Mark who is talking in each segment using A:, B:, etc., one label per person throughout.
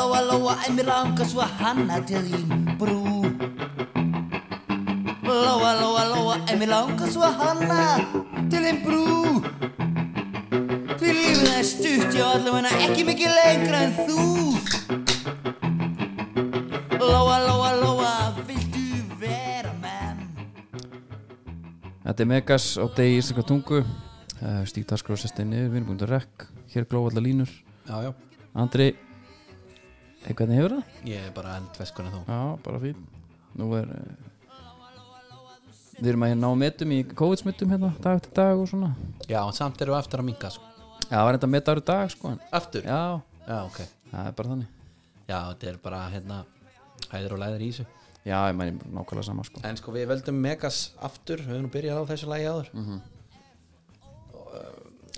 A: en mér langar svo að hanna til þín brú Lóa, lóa, lóa, en mér langar svo að hanna til þín brú Því lífið er stutt, já allavega ekki mikið lengra en þú Lóa, lóa, lóa, viltu vera menn?
B: Þetta er Megas á degi íslenska tungu uh, Stíktaskróf sestir niður, við erum búin að rekk Hér glóða allar línur
C: Já, já,
B: Andri, eh, hvernig hefur það?
C: ég er bara eldveskun en þú
B: Já, bara fín Nú er uh, Við erum að hérna ná metum í COVID-smittum hérna Dag til dag og svona
C: Já, en samt eru eftir að minga sko.
B: Já, það var þetta metar í dag sko en.
C: Aftur?
B: Já,
C: já, ok
B: það er bara þannig
C: Já, þetta er bara hérna hæðir og læðir í þessu
B: Já, ég mæni nákvæmlega sama sko
C: En sko við veldum Megas aftur við höfum byrjað á þessu lagi áður mm -hmm.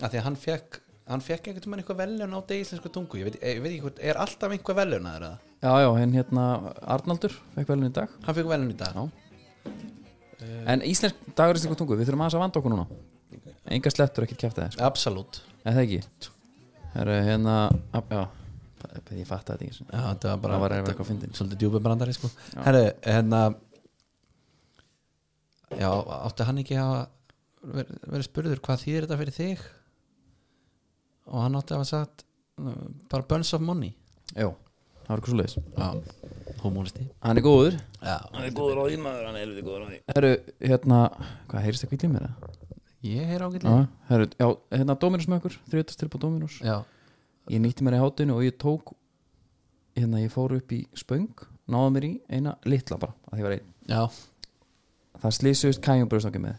C: að því að hann fekk hann fekk einhvern veginn eitthvað velun á degi íslensku tungu ég veit, ég veit ekki hvort, er alltaf einhver velun að það?
B: Já, já, en hérna Arnaldur fekk velin í dag
C: Hann fekk velun í dag
B: Já En íslensk dagur íslenska tungu, við þurfum aðeins að vanda okkur núna Enga slettur ekkert kæfti það sko.
C: Absolutt
B: Er það ekki? Herru, hérna ab- Já, b- ég fatt þetta ekki
C: Já, þetta var bara
B: Það var eitthvað
C: þetta-
B: fyndin.
C: Svolítið djúpa brandari sko Herru, hérna Já, átti hann ekki að verið veri spurður hvað þýðir þetta fyrir þig og hann átti að hafa sagt uh, bara burns of money
B: Jó, það var eitthvað svo leiðis
C: Já, homólisti
B: Hann er góður
C: Já,
B: Hann er góður á því maður, hann er helviti góður á því Herru, hérna, hvað heyrist það kvillið mér það?
C: ég heyr
B: Já,
C: ágætlega
B: herru, já, hérna Dominus með okkur Þriðutast tilbúið Dominus
C: Já,
B: Ég nýtti mér í hátinu og ég tók Hérna, ég fór upp í spöng Náða mér í eina litla bara að Því var einn
C: já,
B: Það slýsust kæjumbröðstakki með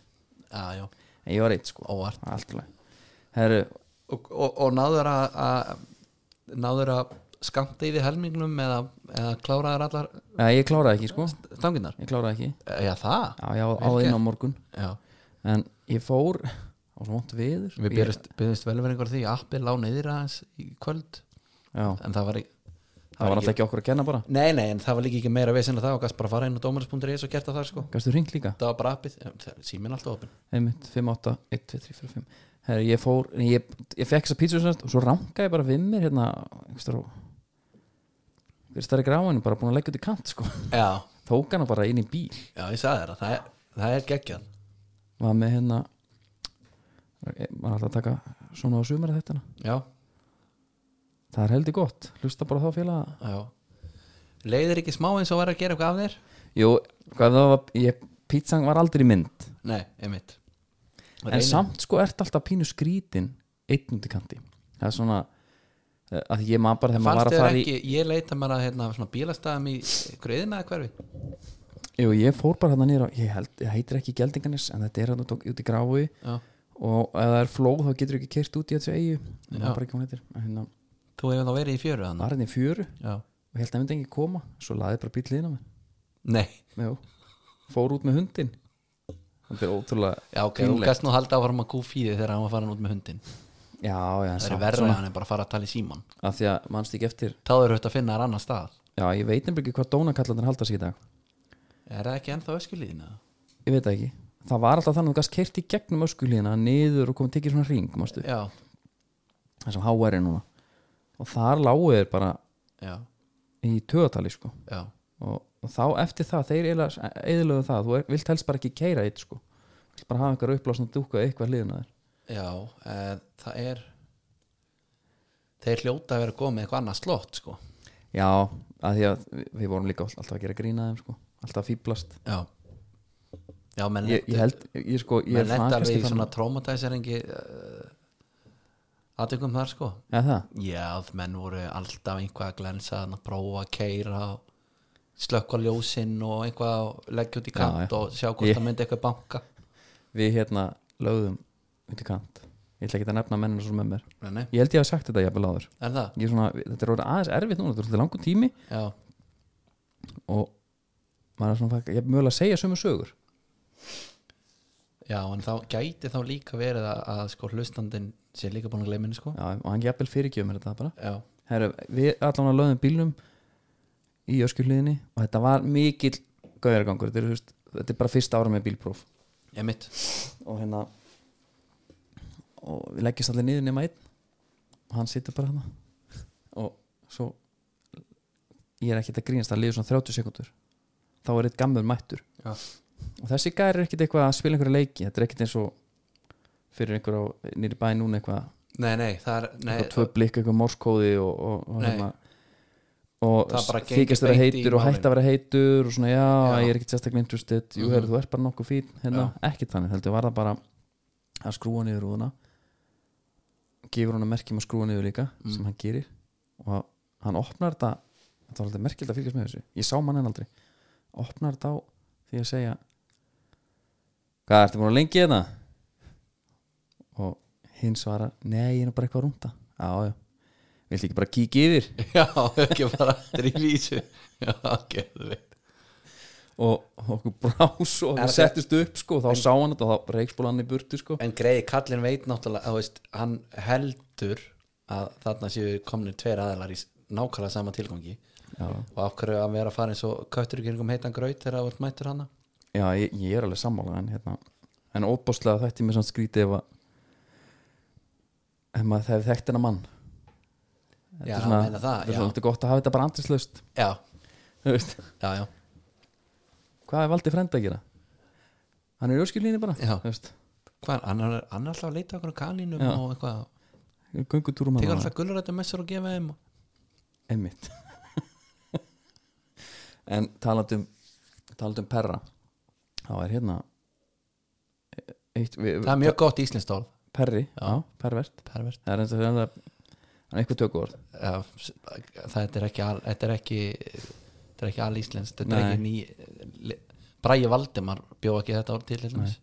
C: já, já
B: En ég var einn sko
C: Óvart
B: Allt í lagi. Herru,
C: Og, og, og náður að að- náður að skamta yfir helmingnum eða, eða kláraður allar
B: eh, ég kláraði ekki sko
C: stanginnar
B: Ég kláraði ekki
C: Já, það?
B: Já, já, á
C: Vel
B: inn á
C: gert.
B: morgun
C: Já
B: En ég fór á svona vont viður
C: Við byrjumst, byrjumst velverðingar því að appi lá neyðir aðeins í kvöld
B: Já,
C: en það var, í-
B: það var alltaf ekki okkur að kenna bara
C: Nei, nei, en það var líka ekki meira vesen að það og gæst bara að fara inn á dómarins.is og gert það þar sko
B: Gastu hringt líka?
C: Það var bara appið, síminn alltaf opinn
B: Einmitt, 5, 8, 1, 2, 3, 4, 5 Herri, ég fór, nei, ég, ég fekk þessa pítsu og svo rangaði ég bara við mér hérna einhvers staðar á- Hver stærri gráinu bara búin að leggja út í kant sko
C: Já,
B: Tók hana bara inn í bíl
C: já, ég sagði þér að það er, það er geggjað
B: Var með hérna Var alltaf að taka svona á sumar þetta hérna.
C: Já,
B: Það er heldig gott, hlusta bara á þá félaga
C: já Leiðir ekki smá eins og var að gera eitthvað af þér?
B: Jú, hvað það var, ég, pítsan var aldrei í mynd
C: Nei, einmitt
B: en samt sko ert alltaf pínu skrítin einn út í kanti það er svona eh, að ég maður bara þegar maður
C: Fannst
B: var að
C: þér
B: fara
C: ekki, ég leita mér að hérna, svona bílastæðum í gröðina eða hverfi
B: í jú, ég fór bara hérna nýra ég, held, ég heitir ekki geldinganis en þetta er hérna tók- út í gráfi
C: Já,
B: og ef það er flóð þá getur ekki kert út í þessu eigu ég
C: Já.
B: maður bara ekki hvað hún heitir En hérna,
C: þú hefur þá verið í fjöru hann
B: var hérna í fjöru
C: Já,
B: og held að myndi ekki koma svo laði bara bíl liðna
C: nei,
B: mér Jú. fór út með hundin þetta er ótrúlega
C: já ok, þú
B: Pínlegt.
C: gæst nú halda áfram að kúfíði þegar hann var farin út með hundin
B: já, já, en
C: Það er
B: samt
C: verra
B: svona,
C: að hann er bara að fara að tala í síman
B: að því að mannst ekki eftir
C: Þá eru þetta að finna þær annar stað
B: já, ég veit nefnilega ekki hvað dónakallandir halda sig í dag
C: Er það ekki ennþá öskulíðin eða?
B: ég veit það ekki það var alltaf þannig að þú gæst kert í gegnum öskulíðina niður og komið tekið svona ring mástu,
C: Já,
B: það sem HR er núna og þar lágu þeir bara
C: já,
B: í tögatali sko
C: já
B: og, og þá eftir það, þeir eðlöðu það þú er, vilt helst bara ekki keira eitt sko vilt bara hafa einhver upplásna dúka eitthvað hliðina þér
C: Já, e, það er Þeir hljóta að vera að góð með eitthvað annað slott sko
B: já, að því að við, við vorum líka alltaf að gera grína þeim sko alltaf að fýblast
C: Já Já, menn
B: ég, ég held, ég sko ég
C: menn lenda alveg í
B: þannig-
C: svona traumatizeringi uh, aðtökum þar sko
B: ja, það,
C: Já, menn voru alltaf einhvað að glensa að prófa að keira og slökka ljósinn og einhvað að leggja út í kant
B: já.
C: og sjá hvort
B: Ég-
C: það myndi eitthvað banka
B: við hérna lögðum út í kant ég ætla ekki að nefna mennina svo með mér
C: Nei, nei,
B: ég held ég að sagt þetta jafnvel áður
C: er það?
B: ég er svona, þetta er orðið aðeins erfitt núna þetta er svolítið langur tími
C: Já,
B: og maður er svona, fæk- ég er mögulega að segja sömu sögur
C: já, en þá gæti þá líka verið að, að sko hlustandinn sé líka búin að gleyma henni sko
B: Já, og hann jafnvel fyrirgjöfum mér þetta bara
C: Já,
B: Heru, við allan að löðum bílnum í öskjulíðinni og þetta var mikill gauðargangur þetta er, þú veist, þetta er bara fyrsta ára með bílpróf
C: ég mitt
B: og hérna og við leggjast allir niður nema einn og hann situr bara hérna og svo ég er ekkert að grínast það liður svona 30 sekundur þá er eitt gammur mættur
C: Já.
B: og þessi gæri er ekkert eitthvað að spila einhverja leiki þetta er ekkert eins og fyrir einhver á nýri bæ núna eitthvað
C: Nei, nei, það er nei,
B: eitthvað tvö blikk, eitthvað morskóði og, og, og,
C: Nei.
B: hérna, og
C: Það bara gengur
B: þykist vera
C: beint í
B: heitur og
C: málin.
B: hætt að vera heitur og svona já,
C: Já.
B: ég er ekkert sérstaklega interested jú,
C: Mhm.
B: mm þú ert bara nokkuð fín hérna, ekkert þannig, heldur, var það bara að skrúa niður rúðuna gefur hún að merkjum að skrúa niður líka
C: Mm.
B: sem hann gerir og hann opnar þetta þetta var alltaf merkild að fylgjast með þessu ég sá mann en aldrei, opnar þetta á því að segja hvað, ertu búin að lengi þetta? og hinn svarar nei, ég er nú bara eitthvað að rúnda já, já, viltu ekki bara kíkja yfir
C: Já, ekki bara drífi í þessu Já, geðveikt
B: og okkur brá svo
C: Er
B: við
C: það-
B: settist upp sko, og þá sá hann þetta og þá reikspóla hann í burtu sko.
C: En greiði kallin veit náttúrulega þú veist, hann heldur að þarna séu komnir tveir aðalar í s- nákvæmlega sama tilgangi
B: já,
C: og af hverju að vera að fara eins og köttur í kringum heitan graut þegar það vart mættur hana
B: já ég, ég er alveg sammála en, hérna, en óbáslega þætti mér samt skrítið ef að ef maður það hefði þekkt hennar mann
C: Já,
B: er
C: meina það,
B: þetta er
C: já.
B: svona- þetta er gott að hafa þetta bara andrislaust
C: Já,
B: þú veist,
C: já, já
B: hvað er valdið frenda að gera hann er í öskilínu bara
C: Já.
B: þú veist,
C: Hvað, hann er, hann er alltaf að leita okkur á kanínum
B: Já.
C: og eitthvað
B: göngutúrum
C: Tekur alltaf gullurættu messur og gefa þeim og-
B: einmitt en talandum talandum um perra þá er hérna eitt, við,
C: Það er mjög gott íslenskt orð
B: perri, já, pervert
C: pervert.
B: það er eins og það er einhver tökur
C: Já, s- Það þetta er ekki al- þetta er ekki þetta er ekki alíslenskt þetta er
B: Nei.
C: ekki ný le- Bragi Valdimar bjó ekki þetta orð til til dæmis.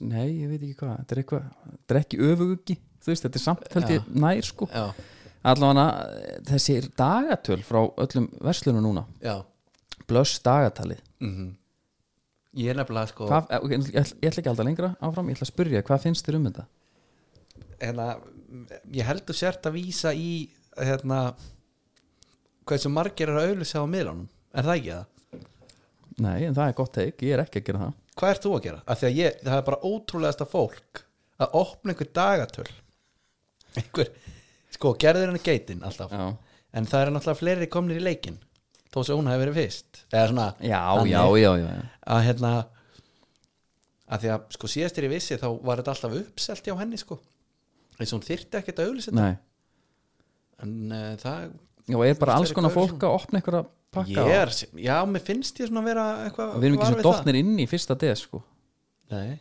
B: nei, ég veit ekki hvað, þetta er eitthvað þetta er ekki öfugugi, þú veist, þetta er samt held ég nær sko,
C: Já,
B: allavega þessi dagatöl frá öllum verslunum núna,
C: já
B: blöss dagatalið
C: mm Ég er nefnilega sko
B: hvað, eh, ok, ég, ætla- ég ætla ekki að halda lengra áfram, ég ætla að spyrja, hvað finnst þér um þetta?
C: hérna, ég heldur sért að vísa í hérna hversu margir eru að auðlýsa á miðlunum er það ekki það?
B: nei, en það er gott teik, ég er ekki að gera það
C: Hvað ert þú að gera? Af því að ég, það er bara ótrúlegasta fólk að opna einhver dagatöl einhver, sko, gerður henni geitin alltaf
B: já.
C: en það eru náttúrulega fleiri komnir í leikin þó sem hún hefur verið fyrst eða svona
B: Já,
C: Þannig.
B: já, já, já, já.
C: að hérna að því að sko síðast er ég vissi þá var þetta alltaf uppselt hjá henni sko eins og hún þyrfti ekkert að auðlýsa þetta
B: Nei
C: en uh, það
B: Já, er bara
C: Þú
B: alls
C: veist,
B: konar
C: það er
B: fólk að opna einhverja pakka
C: ég
B: yeah.
C: er, já, mér finnst ég svona vera eitthvað
B: Við erum ekki
C: var
B: svo
C: við það.
B: dottnir inn í fyrsta des sko.
C: Nei,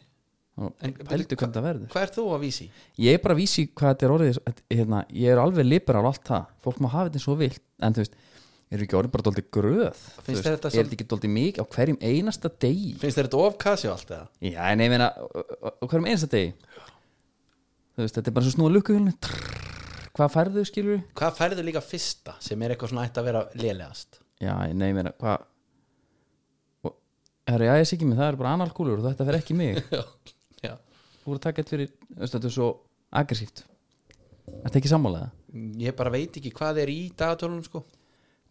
B: Og
C: En-
B: Pældu hvernig það verður
C: hvað ert þú að vísi?
B: Ég er bara að vísi hvað þetta er orðið að- hérna, Ég er alveg liberal allt það Fólk má hafa þetta svo vilt En þú veist, erum við ekki orðið bara dóldi gröð Þú
C: Finnst
B: veist,
C: þér þetta
B: Er
C: samt-
B: þetta ekki dóldi mikið á hverjum einasta degi
C: finnst þér þetta ofkasi og allt eða?
B: Já, en ég meina á- á- á hverjum einasta degi Þú veist, þetta er bara svo snúa lukkuhjólinu Hvað færðu skilur
C: hvað færðu líka fyrsta sem er eitthvað svona ætti að vera lélegast
B: Já, nei, ég meina, hvað Og- Herra, já, ég sé ekki mig, það er bara analkúlur og þetta fer ekki í mig
C: já, já
B: Þú voru að taka eitt fyrir, þú veist, þetta er svo aggressíft Þetta ekki sammálaða
C: ég bara veit ekki hvað er í dagatölunum sko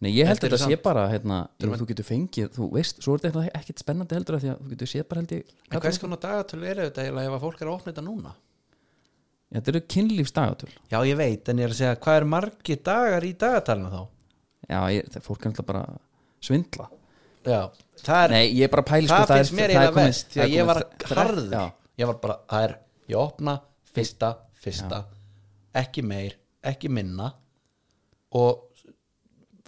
B: Nei, ég held
C: Þetta
B: að
C: er
B: þetta sé
C: samt-
B: bara, hérna, jú,
C: Þurfum-
B: þú getur fengið, þú veist, svo er þetta eitthvað ekkert spennandi heldur af því að þú getur séð bara held ég
C: en hvers konar dagatöl eru þetta eiginlega ef að fólk er að opna þetta núna
B: Þetta eru kynlífsdagatöl
C: já ég veit en ég er að segja hvað er margi dagar í dagatalina þá
B: Já, ég, það, fólk er alltaf bara að svindla
C: já það er
B: Nei, ég er bara að pæli,
C: það
B: sko,
C: finnst mér eiginlega vest því að ég var harður
B: Já,
C: ég var bara, það er, ég opna fyrsta, fyrsta ekki meir, ekki minna og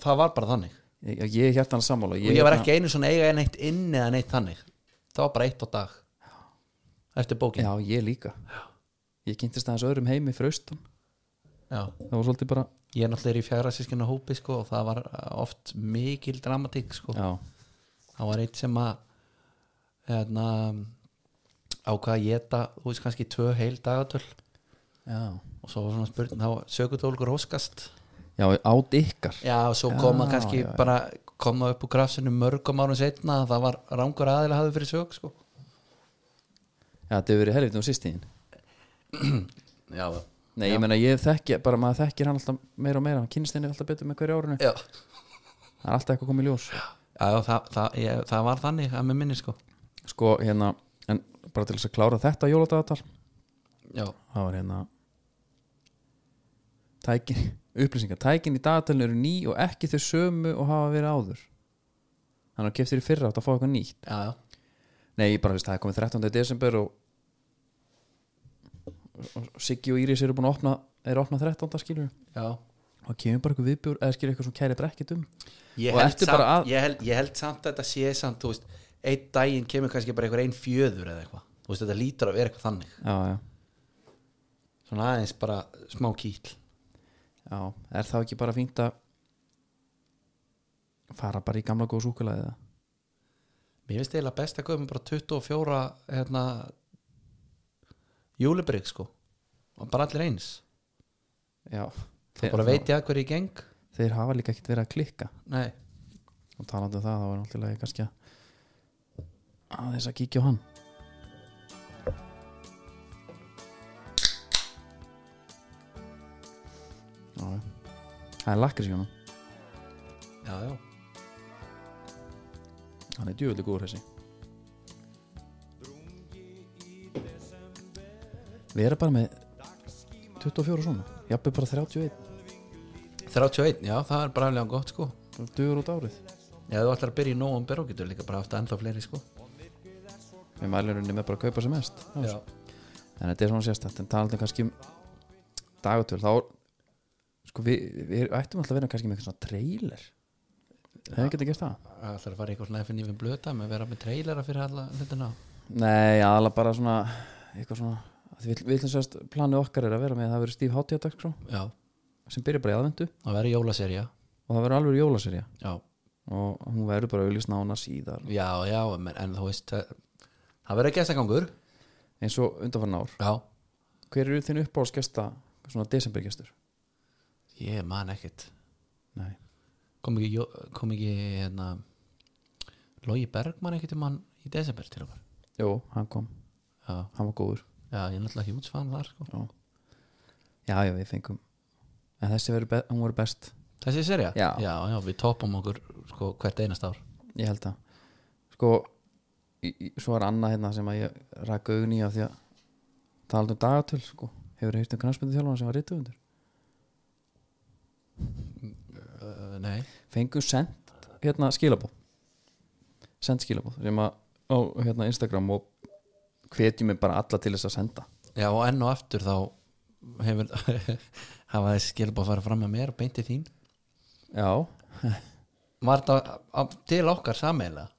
C: það var bara þannig
B: ég, ég er hjartan að sammála
C: og ég var ekki einu svona eiga neitt inn eða neitt þannig það var bara eitt á dag eftir bókin
B: Já, ég líka Ég kynntist aðeins öðrum heimi fraustan
C: Já.
B: Það var svolítið bara
C: ég er náttúrulega er í fjara sískina hópi sko, og það var oft mikil dramatík sko.
B: Já,
C: það var eitt sem að hérna, ákvað að geta þú veist kannski tvö heil dagatöl
B: já
C: og svo var svona spurning þá sögutólkur óskast
B: Já, át ykkar
C: já og svo koma
B: Já,
C: kannski
B: já, já.
C: bara koma upp úr grafsinu mörgum árum setna það var rángur aðilega hafði fyrir sög sko.
B: Já, þetta hefur verið helvitið um sýstíðin
C: já,
B: Nei, ég meina, ég þekki, bara maður þekkir hann alltaf meira og meira, hann kynst henni alltaf betur með hverju árinu
C: já.
B: Það er alltaf eitthvað komið ljós
C: já það, það, ég, það var þannig að mér minni sko.
B: Sko, hérna, en bara til þess að klára þetta jóladagatal
C: já,
B: Það var hérna Tækin upplýsingar tækin í dagatalinu eru ný og ekki þau sömu og hafa verið áður þannig að keftir í fyrra átt að fá eitthvað nýtt
C: já, já,
B: Nei, ég bara veist, það er komið 13. desember og, og, og Siggi og Íris eru búin að opna er að opna 13. skilur
C: já.
B: og það kemur bara eitthvað viðbjör eða skilur eitthvað sem kæri brekkit um
C: Ég,
B: Og
C: held
B: ertu
C: samt,
B: bara að-
C: ég, held, ég held samt að þetta sé samt, þú veist, einn daginn kemur kannski bara einhver ein fjöður eða eitthvað þú veist, þetta lítur að vera eitthvað þannig
B: Já, já,
C: svona aðeins bara smá kýl
B: já, er það ekki bara fínt að fara bara í gamla góð súkulega eða
C: Mér finnst eiginlega best að köpa mér bara 24 hérna júlibrygg sko og bara allir eins
B: Já,
C: og bara veit ég að hverju í geng
B: þeir hafa líka ekkert verið að klikka
C: Nei,
B: og talandi um það, þá er náttúrulega kannski að aðeins að kíkja á hann Já, já. Það er hérna. lakkar síðan
C: já, já
B: Hann er djúvöldi góður þessi Við erum bara með 24 svona Jafnveg bara 31
C: 31, já, það er bara alveg gott sko
B: Bara Dugur út árið
C: Já, þú ætlar að byrja í nóum berg og getur líka bara haft ennþá fleiri sko
B: Við mælunum með bara að kaupa sem mest
C: Já,
B: en þetta er svona sérstætt en talandi kannski um dagatöl þá sko við, við ættum alltaf að vera kannski með eitthvað svona trailer hefur ekki að gert það?
C: Það ætlar að fara í eitthvað svona FNF blöta með að vera með trailera fyrir alla hlutina
B: Nei, aðalega bara svona eitthvað svona af því við, við ætlum sérst planið okkar er að vera með að það verður stíf hátíðardag
C: Já,
B: sem byrjar bara í aðvendu
C: það verður jólaserja
B: og það verður alveg jólaserja
C: Já,
B: og hún verður bara auðvitað nána síðar
C: já, já, en, en þú veist það, það verður gestagangur
B: eins og undanfarn ár
C: Já,
B: hver eru þinn uppáhaldsgesta svona desembergestur?
C: ég man ekkit
B: Nei,
C: kom ekki, Jó- kom ekki hérna, Logi Bergmann ekkert um hann í desember til okkar
B: jú, hann kom,
C: já,
B: hann var góður
C: já, ég er náttúrulega ekki útsfæðan þar
B: já,
C: sko.
B: já, já við fengum en þessi verður, be- hún verður best
C: þessi serja,
B: Já.
C: já, já, við topum okkur sko, hvert einast ár
B: ég held það sko, í, í, svo er annað hérna sem að ég rak augun í af því að talað um dagatöl sko hefur heirt um knarspöndu þjálfana sem var rítuðundur
C: uh, nei,
B: fengu sent hérna skilabóð sent skilabóð sem að á hérna Instagram og hvetjum mig bara alla til þess að senda
C: já og enn og aftur þá hefur hafa þessi skilbóð að fara fram með mér og beinti þín
B: já,
C: var þetta á- á- til okkar sameiginlega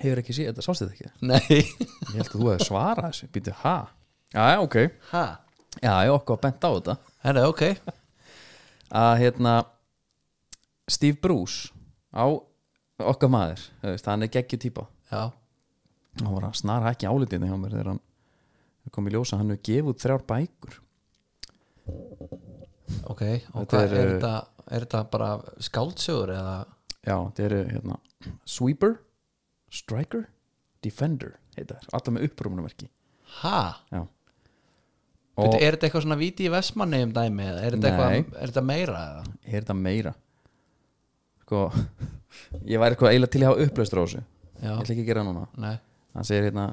B: hefur ekki séð þetta, sástu þetta ekki
C: nei,
B: ég held að þú hefði svarað þessu, býtu ha já, já, ok,
C: ha,
B: já, ég okkur að benda á þetta
C: hérna, ok
B: að hérna Steve Bruce á okkar maður, þú veist, hann er geggju típa
C: já,
B: hann var að snara ekki álitinu hjá mér þegar hann þegar kom í ljósa, hann hefur gefið út þrjár bækur
C: ok og
B: Þetta
C: hvað
B: er,
C: er,
B: uh,
C: þetta, er þetta bara skáldsögur eða
B: já, þetta eru hérna Sweeper, Striker Defender, heita þær, alltaf með upprúmunumerki
C: ha,
B: já
C: Og...
B: og
C: Er þetta eitthvað svona víti í Vestmanni um dæmi eða er þetta, eitthvað, er þetta meira eða?
B: er þetta meira sko ég væri eitthvað eiginlega til að hafa upplaustur á þessu
C: Já,
B: ég ætla ekki að gera það núna
C: nei,
B: hann segir hérna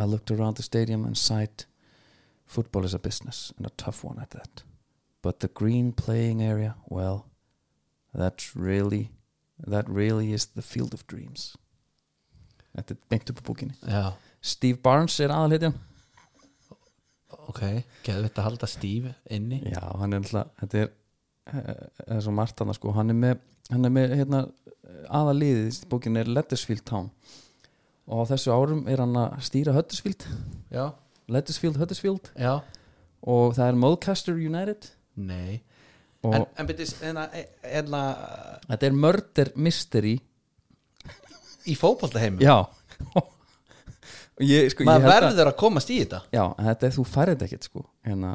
B: I looked around the stadium and sighed football is a business and a tough one at that but the green playing area well that's really that really is the field of dreams þetta er beint upp á búkinni
C: já,
B: Steve Barnes er aðalhetjan
C: ok Geðu þetta að halda stíf inni
B: já, hann er alltaf þetta er, eh, það er svo margt hann sko hann er með, hann er með hérna, aðaliðið, bókin er Lettersfield Town og á þessu árum er hann að stýra Huddersfield
C: Já,
B: Lettersfield, Huddersfield
C: já,
B: og það er Mulcaster United
C: nei
B: og
C: En, hérna, e, en byrjus, en að en að
B: þetta er Murder Mystery
C: í fótboltaheimum
B: já og ég sko ég
C: maður
B: held að
C: verður að komast í þetta
B: já, en þetta er þú færið þetta ekkert sko hérna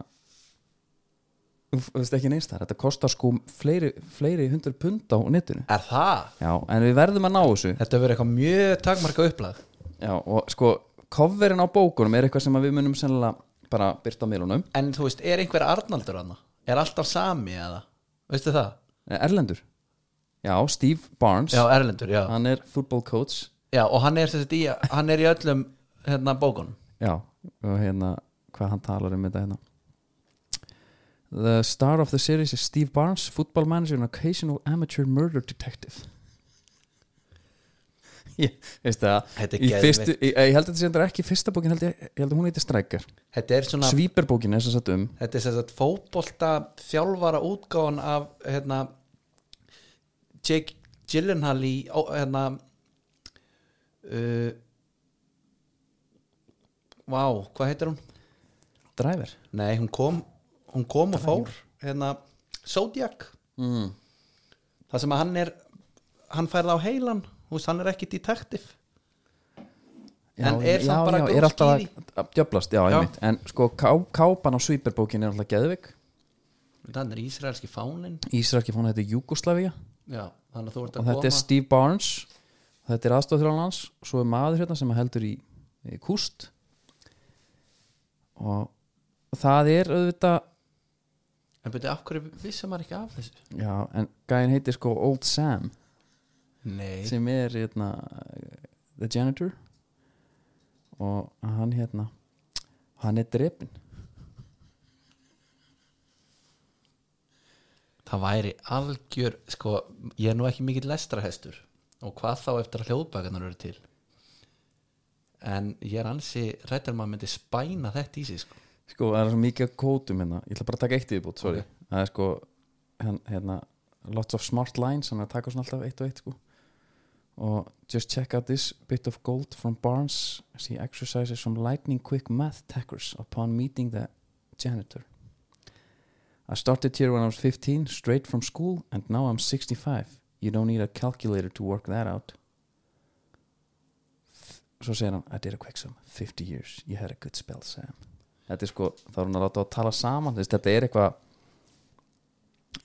B: þú þú veist ekki neins þar, þetta kostar sko fleiri, fleiri hundru pund á netinu
C: Er það?
B: já, en við verðum að ná þessu
C: Þetta verður eitthvað mjög takmarka upplag
B: já, og sko, coverin á bókunum er eitthvað sem að við munum sennilega bara byrta á miðlunum,
C: En þú veist, er einhver Arnaldur hana? Er alltaf sami eða? Veistu það?
B: Erlendur já, Steve Barnes
C: Já, Erlendur, já
B: hann er football coach
C: Já, og hann er, sem sagt, í, hann er í öllum hérna bókunum
B: Já, og hérna hvað hann talar um þetta hérna The star of the series is Steve Barnes, football manager and occasional amateur murder detective Ég, veist það
C: Þetta er
B: í
C: geðveikt.
B: fyrstu, ég, ég held að þetta sem er ekki fyrsta bókin held ég, ég held að hún heiti Strækjar
C: Þetta er svona
B: Svíperbókin er sem sagt um
C: Þetta er sem sagt fótbolta þjálfara útgáðan af hérna Jake Gyllenhaal í ó, hérna uh, Vá, hvað heitir hún?
B: Driver
C: Nei, hún kom hún kom og fór hérna Zodiac
B: mm.
C: það sem að hann er hann færð á heilan, hús, hann er ekki detektiv
B: já,
C: En er
B: já,
C: samt
B: já,
C: bara góð
B: er alltaf að,
C: skýring.
B: að djöflast já,
C: Já.
B: einmitt En sko, ká, kápan á Svíperbókin er alltaf geðvik
C: þannig er ísraelski fáninn
B: Ísraelski fónu þetta Júkoslavia
C: já, þannig að
B: og
C: þú ert að
B: þetta er
C: koma
B: Steve Barnes þetta er aðstofþjálfan hans svo er maður hérna sem heldur í, í kúst og það er auðvitað
C: en byrja, af hverju vissi maður ekki af þessu?
B: já, en gæðin heitir sko Old Sam
C: Nei,
B: sem er hérna The Janitor og hann hérna hann er drepin
C: það væri algjör sko, ég er nú ekki mikill lestrahestur og hvað þá eftir að hljóðbækarnar eru til en ég er ansi rættur maður myndi spæna þetta í sig sko.
B: sko, það er svo mikið af kótum hérna ég ætla bara að taka eitt yfirbútt, sorry það er sko, hann, hérna lots of smart lines, hann er að taka svona alltaf eitt og eitt sko. og just check out this bit of gold from Barnes as he exercises some lightning quick math tackers upon meeting the janitor I started here when I was 15 straight from school and now I'm 65 you don't need a calculator to work that out svo segir hann I did a quick sum, 50 years you had a good spell Sam þetta er sko, þá er hún að láta að tala saman þess, þetta er eitthvað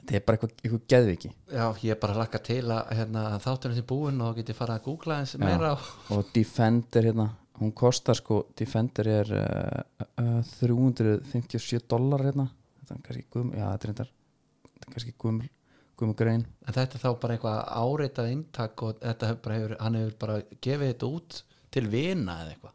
B: þetta er bara eitthvað, eitthvað geðviki
C: já, ég er bara að laka til að hérna, þátturinn sem búin og geti farið að googla eins meira á
B: og Defender hérna hún kostar sko, Defender er uh, uh, 357 dólar hérna þetta er kannski gum, já þetta er reyndar þetta er kannski gum, gumugrein
C: en þetta er þá bara eitthvað áreitað inntak og þetta hefur bara hefur, hann hefur bara gefið þetta út til vina eða eitthvað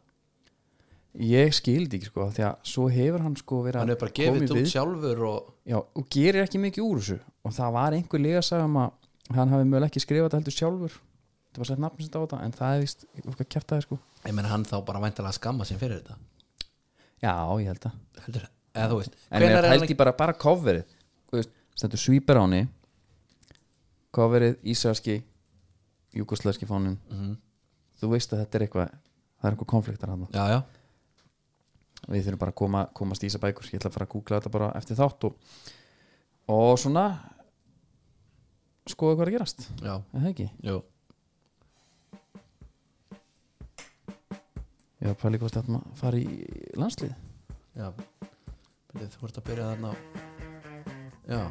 B: ég skildi ekki sko, af því að svo hefur hann sko verið
C: hann
B: að
C: hefur bara
B: koma
C: gefið
B: í
C: þetta
B: við-
C: út sjálfur og
B: já, og gerir ekki mikið úr þessu og það var einhver lega að sagja um að hann hafi mögulega ekki skrifað þetta heldur sjálfur þetta var sett nafnum sitt á þetta en það er vist eitthvað kjæftaði sko
C: ég menn hann þá bara væntalega skamma sér fyrir þetta
B: já, ég held að
C: heldur, eða þú veist
B: en ég
C: hvenær er hann
B: held ég bara, bara coverið Þú veist, stendur svíper áni coverið ísraelski júkoslæski fánin
C: Mhm.
B: þú veist að þetta er eitthvað það er eitthvað konfliktar hann
C: já, já
B: við þurfum bara að koma, komast í þessar bækur ég ætla að fara að googla þetta bara eftir þátt og, og svona skoða hvað er að gerast
C: Já,
B: er það ekki?
C: jú
B: ég var að pæla í hvort þetta maður fara í landslið
C: Já Byrju, Þú ert að byrja þarna á Já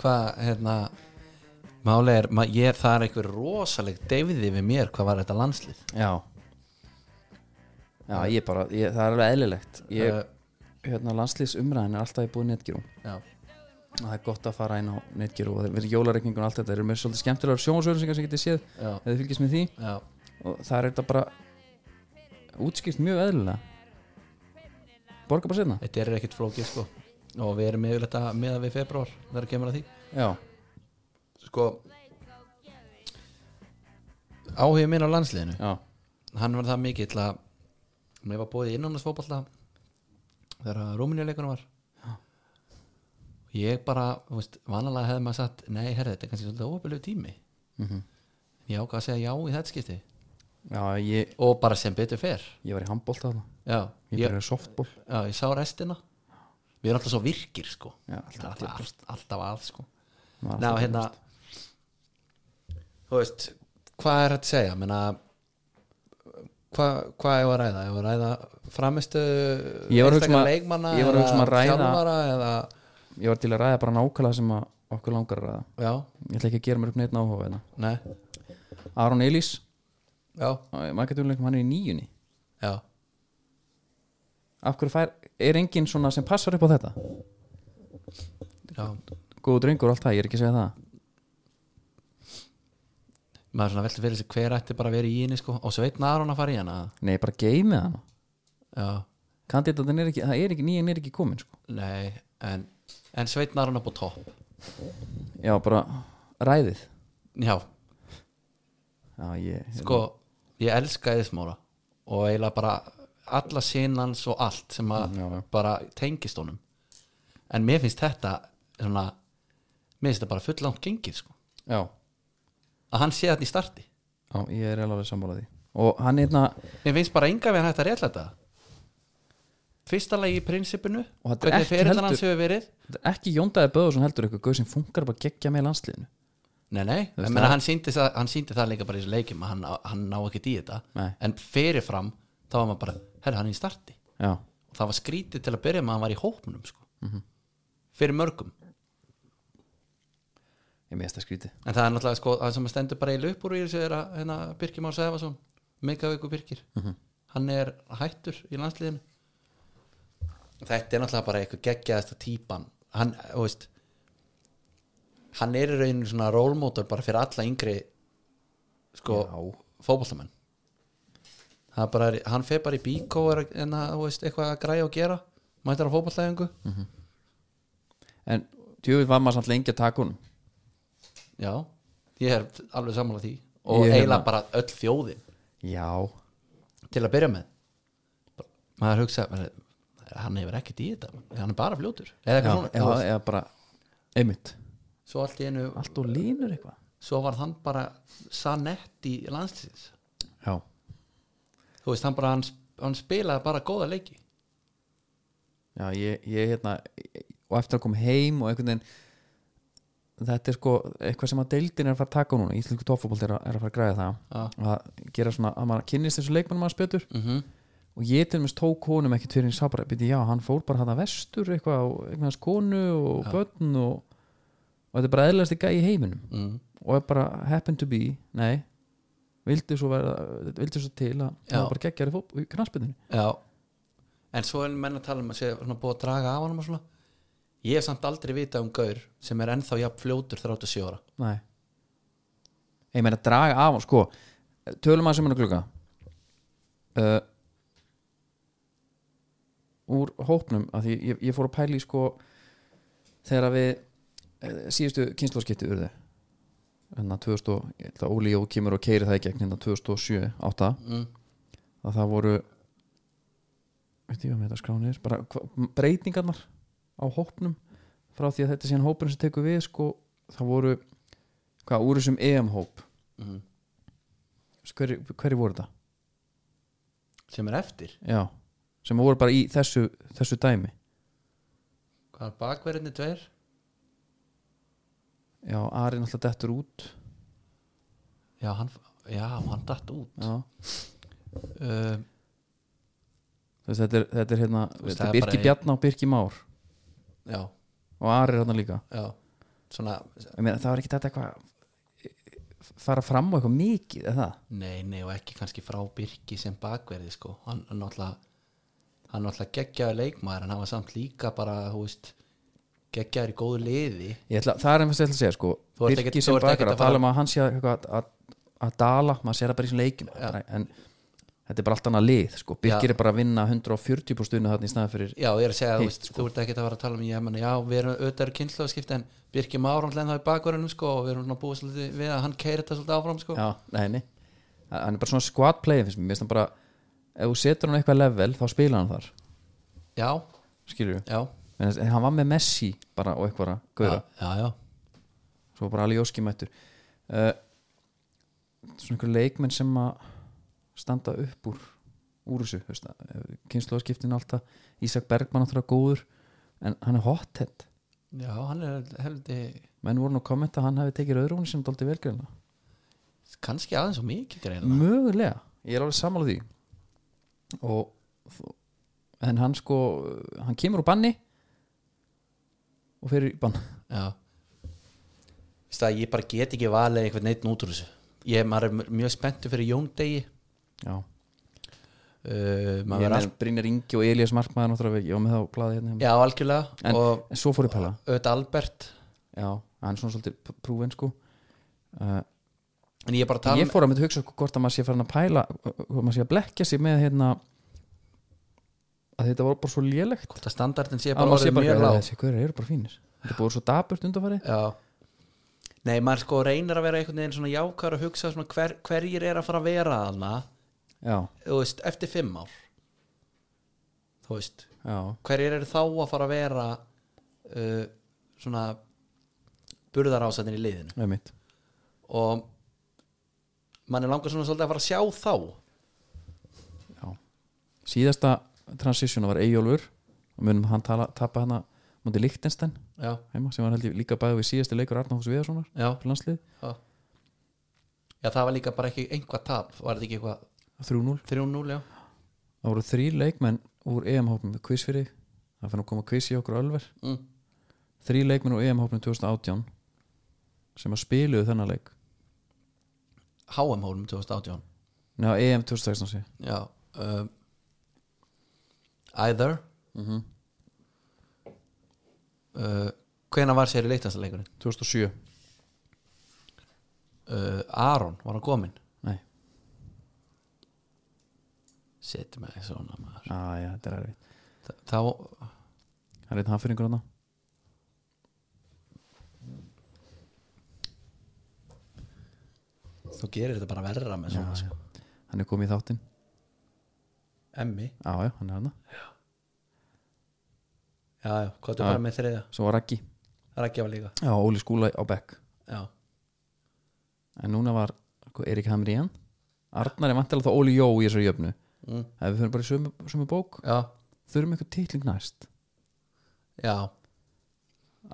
C: Hvað, hérna Máli er, ma, ég, það er einhver rosaleg deyfði við mér hvað var þetta landslið
B: já já ég bara, ég, það er alveg eðlilegt ég,
C: Eh,
B: hérna landsliðsumræðin er alltaf í búið netgjörum
C: Já,
B: og það er gott að fara inn á netgear og við jólareikningun og allt þetta eru með svolítið skemmtilegar sjónvarsauðlýsingar sem getið séð ef
C: já,
B: þið fylgjast með því
C: já
B: og það er þetta bara útskipt mjög eðlilega borga bara setna
C: Þetta er ekkert flókið sko og við erum yfirleitt að meða við februar þegar kemur að því
B: já,
C: Sko Áhugum minn á landsliðinu
B: já,
C: hann var það mikill að mér var bóðið innanlandsfótballa þegar að Rúminjuleikunum var ég bara, þú veist, vanalega hefði maður sagt nei, herri, þetta er kannski svolítið óöpilegu tími
B: Mhm.
C: ég ákvað að segja já í þetta skipti
B: já ég,
C: og bara sem betur fer
B: ég var í handbólta þarna
C: já,
B: ég
C: ég,
B: byrjaði í softból
C: já, ég sá restina við erum alltaf svo virkir sko
B: Já, alltaf
C: alltaf, alltaf, alltaf að sko
B: Maður
C: Ná,
B: alltaf
C: hérna Þú veist, hvað er þetta að segja? Menna, hvað, hvað ég var að ræða? Ég var að ræða framistu
B: Ég var að hugsa um að-
C: leikmanna
B: ég var að hugsa um að ræða-
C: þjálfara eða,
B: ég var til að ræða bara nákvæmlega sem að okkur langar að ræða
C: já,
B: ég ætla ekki að gera mér upp neitt náhuga hérna
C: nei
B: Aron Elís,
C: Já,
B: maður getur hann er í nýjunni
C: já,
B: af hverju fær, er enginn svona sem passar upp á þetta
C: já
B: góðu drengur og allt það, ég er ekki að segja það
C: maður svona velti fyrir sig hver ætti bara að vera í henni sko og Sveitn Aron að fara í hana
B: nei, bara geymið hann
C: já,
B: kandidatin er ekki, það er ekki, nýjan er ekki komin sko.
C: nei en, en sveitnar hann upp á topp
B: já, bara ræðið
C: já,
B: já, ég,
C: sko, ég elska Eðismára og eiginlega bara alla sinans og allt sem að
B: Já, já.
C: bara tengist honum en mér finnst þetta svona, mér finnst þetta bara full langt gengið sko,
B: já,
C: að hann sé þetta í starti
B: já, ég er alveg sammála því og hann hérna, einna,
C: mér finnst bara enga við hann hægt að rétla þetta fyrsta lagi í prinsipinu
B: Og þetta er
C: hvernig
B: ekki
C: fyrirlan
B: heldur-
C: hans hefur verið
B: ekki Jóndaði Böðursson heldur eitthvað gauð sem funkar bara geggja með í landsliðinu
C: nei, nei,
B: veist
C: en meina,
B: það-
C: hann, síndi það, hann síndi það líka bara í þessu leikim að hann, hann ná ekki í þetta
B: Nei.
C: en fyrirfram, þá var maður bara herra, hann er í starti
B: já,
C: og það var skrítið til að byrja með að hann var í hópnum sko. fyrir mörgum
B: ég meðst að skríti
C: en það er náttúrulega sko, það sem stendur bara í löpur í þessu er að hérna, Birkir Már Sæfason Megavíku Birkir hann er hættur í landsliðinu þetta er náttúrulega bara eitthvað geggjaðasta típan hann, þú veist hann er í rauninu svona rólmótor bara fyrir alla yngri sko, fótbollamenn Það er bara, hann fer bara í bíkó og er að- en að, þú veist, eitthvað að græja og gera mættar á fótbollæðingu
B: en tjófið var maður samt lengi að taka hún
C: já, ég er alveg sammála því og
B: Ég er
C: eiginlega
B: hérna-
C: bara öll þjóðin
B: já,
C: til að byrja með maður hugsa maður, hann hefur ekkert í þetta, hann er bara fljótur
B: já,
C: eða eitthvað
B: já,
C: svona já,
B: eða bara einmitt,
C: svo allt í einu,
B: allt og línur eitthvað
C: svo var hann bara sanetti landslýsins
B: já,
C: þú veist, hann bara, hann, hann spilaði bara góða leiki
B: já, ég, ég hérna og eftir að koma heim og einhvern veginn þetta er sko eitthvað sem að deildin er að fara að taka núna Íslensku tóffabólt er, að- er að fara að græða það að gera svona, að maður kynnist þessu leikmannum að spjötur
C: mm -hmm.
B: og ég til mér tók honum ekki tverjum sabra byrja, já, hann fór bara hann að vestur eitthvað og eignast konu og börn og, og þetta er bara eðlæsti gæi í heiminum
C: Mm.
B: og er bara happen to be, nei vildi svo, vera, vildi svo til að
C: Já.
B: það bara geggjari fóp í knarsbytinu
C: já en svo er menn að tala um að segja svona, búið að draga af hann og svona ég hef samt aldrei vitað um gaur sem er ennþá jafn fljótur 37 ára
B: nei ég meina draga af hann, sko tölum að sem hann klukka uh, úr hópnum að því ég, ég fór að pæla í sko þegar að við eh, síðustu kynnslóðskipti urðu hérna 2000 og, ég held að Óli Jó kemur og keiri það í gegn hérna 2007 8
C: mm.
B: að það voru veit ég hvað með þetta skránir bara hva, breytingarnar á hópnum frá því að þetta sé hann hópurinn sem tekur við sko, það voru hvað úr þessum EM-hóp
C: Mm.
B: hverju hver voru þetta?
C: sem er eftir
B: Já, sem voru bara í þessu, þessu dæmi
C: hvað er bakverðinni tveir
B: Já, Ari náttúrulega dettur út
C: já, hann, já, hann datt út
B: Já,
C: uh,
B: þess, þetta, er, þetta er hérna
C: veist,
B: þetta er
C: það er
B: Birki
C: bara-
B: Bjarná, Birki Már
C: já,
B: og Ari er hérna líka
C: já svona,
B: Ég meina, það var ekki þetta eitthvað fara fram á eitthvað mikið eða það?
C: nei, nei og ekki kannski frá Birki sem bakverði sko, hann hann náttúrulega hann náttúrulega geggjaði leikmaður en hann var samt líka bara, þú veist geggjaður í góðu liði
B: Ég ætla, það er einhvers ég ætla að segja sko
C: Þú ert
B: Birki
C: ekkert-
B: sem
C: þú ert ekkert
B: bakar
C: að
B: að
C: fara-
B: tala um að hann sé að, að, að, að dala maður sér það bara í svona leikjum en þetta er bara allt annað lið sko Birkir
C: Já.
B: er bara að vinna 140 stundu þarna í staðan fyrir
C: já, ég er að segja, þú
B: Hitt,
C: veist, þú ert ekki að vera að tala um ég, meni, já, við erum auðvitað eru kynnslóðskipti en Birki Már hann lennar í bakverðinum sko og við erum svona búið svolítið við að hann keiri þetta svolítið áfram sko
B: já, nei, nei. hann er bara svona squad player finnst mér, mér finnst hann bara ef þú setur hann á eitthvað level þá spila hann þar
C: já,
B: skilur við,
C: já,
B: hann var með Messi bara og eitthvað að
C: já,
B: gauðra
C: já, já.
B: svo var bara alveg jóski mættur uh, svona einhver leikmenn sem að standa upp úr úr þessu, eh, kynnslóðskiptin alltaf, Ísak Bergmann áttur að góður en hann er hothead
C: já hann er heldig
B: menn voru nú að kommenta að hann hefði tekið öðrúni sem dálítið velgreina,
C: kannski aðeins og mikið greina
B: mögulega ég er alveg sammála því og þó- en hann sko hann kemur úr banni og fyrir í bann
C: Já Veistu að ég bara get ekki valið einhvern neitt út úr þessu Ég maður er m- mjög spenntu fyrir Jóndegi
B: já,
C: uh,
B: ég
C: maður er
B: er
C: all...
B: Brynjar Ingi og Elías Markmaður náttúrulega, ég var með það á blaði hérna hjá mér.
C: Já, algjörlega
B: En-
C: og
B: en svo fór ég að pæla
C: auðvitað Albert
B: Já, hann er svona svolítið pr- prúfin sko uh,
C: En ég er bara að tala um
B: Ég fór að mynda hugsa sko hvort að maður sé farin að pæla hvort maður sé að blekja sig með hérna að þetta var bara svo lélegt
C: hvort að standardin sé
B: að
C: bara
B: maður sé
C: orðið
B: bara
C: mjög
B: að
C: lág
B: þessi hverju eru bara fínir þetta er búið svo daburt undanfarið
C: Já Nei, maður sko reynir að vera einhvern veginn svona jákar að hugsa svona hver, hverjir er að fara að vera þarna
B: já,
C: þú veist, eftir fimm ár þú veist
B: já,
C: hverjir eru þá að fara að vera uh, svona burðarásatin í liðinu
B: með mitt
C: og mann er langar svona svolítið að fara að sjá þá
B: já. síðasta transitiona var Eyjólfur og munum hann tala, tapa hana mútið Lichtenstein
C: Já,
B: heima sem var held ég líka bæði við síðasti leikur Arnáfus Viðarssonar
C: já,
B: fyrir landslið
C: já Já, það var líka bara ekki einhvað tap var þetta ekki eitthvað
B: 3-0
C: 3-0, já
B: það voru þrý leikmenn úr EM-hópnum með quiz fyrir þig. það fann að koma quiz í okkur á Ölver
C: mm.
B: þrý leikmenn úr EM-hópnum 2018 sem að spiluðu þennan leik
C: HM-hólum 2018
B: Ná, EM 2016 sé ég.
C: Já um, Either Mhm. uh, Hvenær var sér í leiktansleikurinn?
B: 2007
C: Uh, Aron, var hann kominn?
B: Nei,
C: Sitt með því svona maður
B: á, Ah, já, þetta er erfitt
C: Þa, Þá,
B: Það er einn hafðfyrringur hann
C: þú gerir þetta bara verra með svona sko.
B: Hann er komið í þáttinn
C: Emmi,
B: Já, já, hann er hann
C: já, já, hvað þú
B: Já.
C: bara með þriða
B: Svo var Raggi
C: Rækja var líka
B: Já, Óli Skúla á Beck
C: Já,
B: En núna var sko, Erik Hamrían Arnar er vantilega þá Óli Jó í þessari jöfnu
C: mm.
B: Ef við fyrir bara í sömu, sömu bók
C: já,
B: Þurfum eitthvað titling næst
C: já,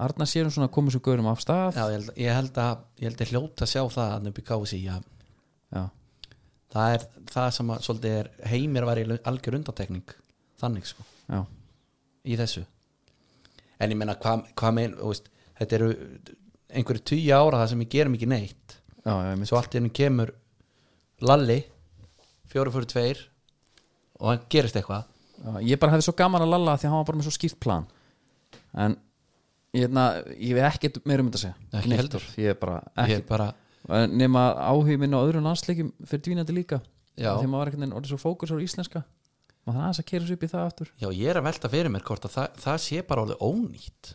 B: Arnar sér um svona að koma svo gaurum af stað
C: já ég, held, ég held að ég held að hljóta að sjá það að nöbbi kási að
B: já.
C: það er það sem að svolítið er heimir var í algjör undantekning þannig sko
B: já,
C: í þessu en ég meina hvað hva með veist, þetta eru einhverju tíu ára það sem við gerum ekki neitt
B: já, já, ég mitt
C: svo allt í henni kemur Lalli fjóru fóru tveir og hann gerist eitthvað
B: Já, ég bara hefði svo gaman að lalla því að hann var bara með svo skýrt plan en ég, na, ég veit ekkert meira um þetta að segja
C: Ekki
B: Neitt.
C: heldur.
B: ég er bara
C: ég
B: ekki,
C: bara,
B: En nema áhug minn á öðrum landsleikjum fyrir dvínandi líka
C: Já.
B: því maður var einhvern veginn orðið svo fókus á íslenska maður það aðeins að kera svo upp í það aftur
C: já ég er að velta fyrir mér hvort að það, það sé bara alveg ónýtt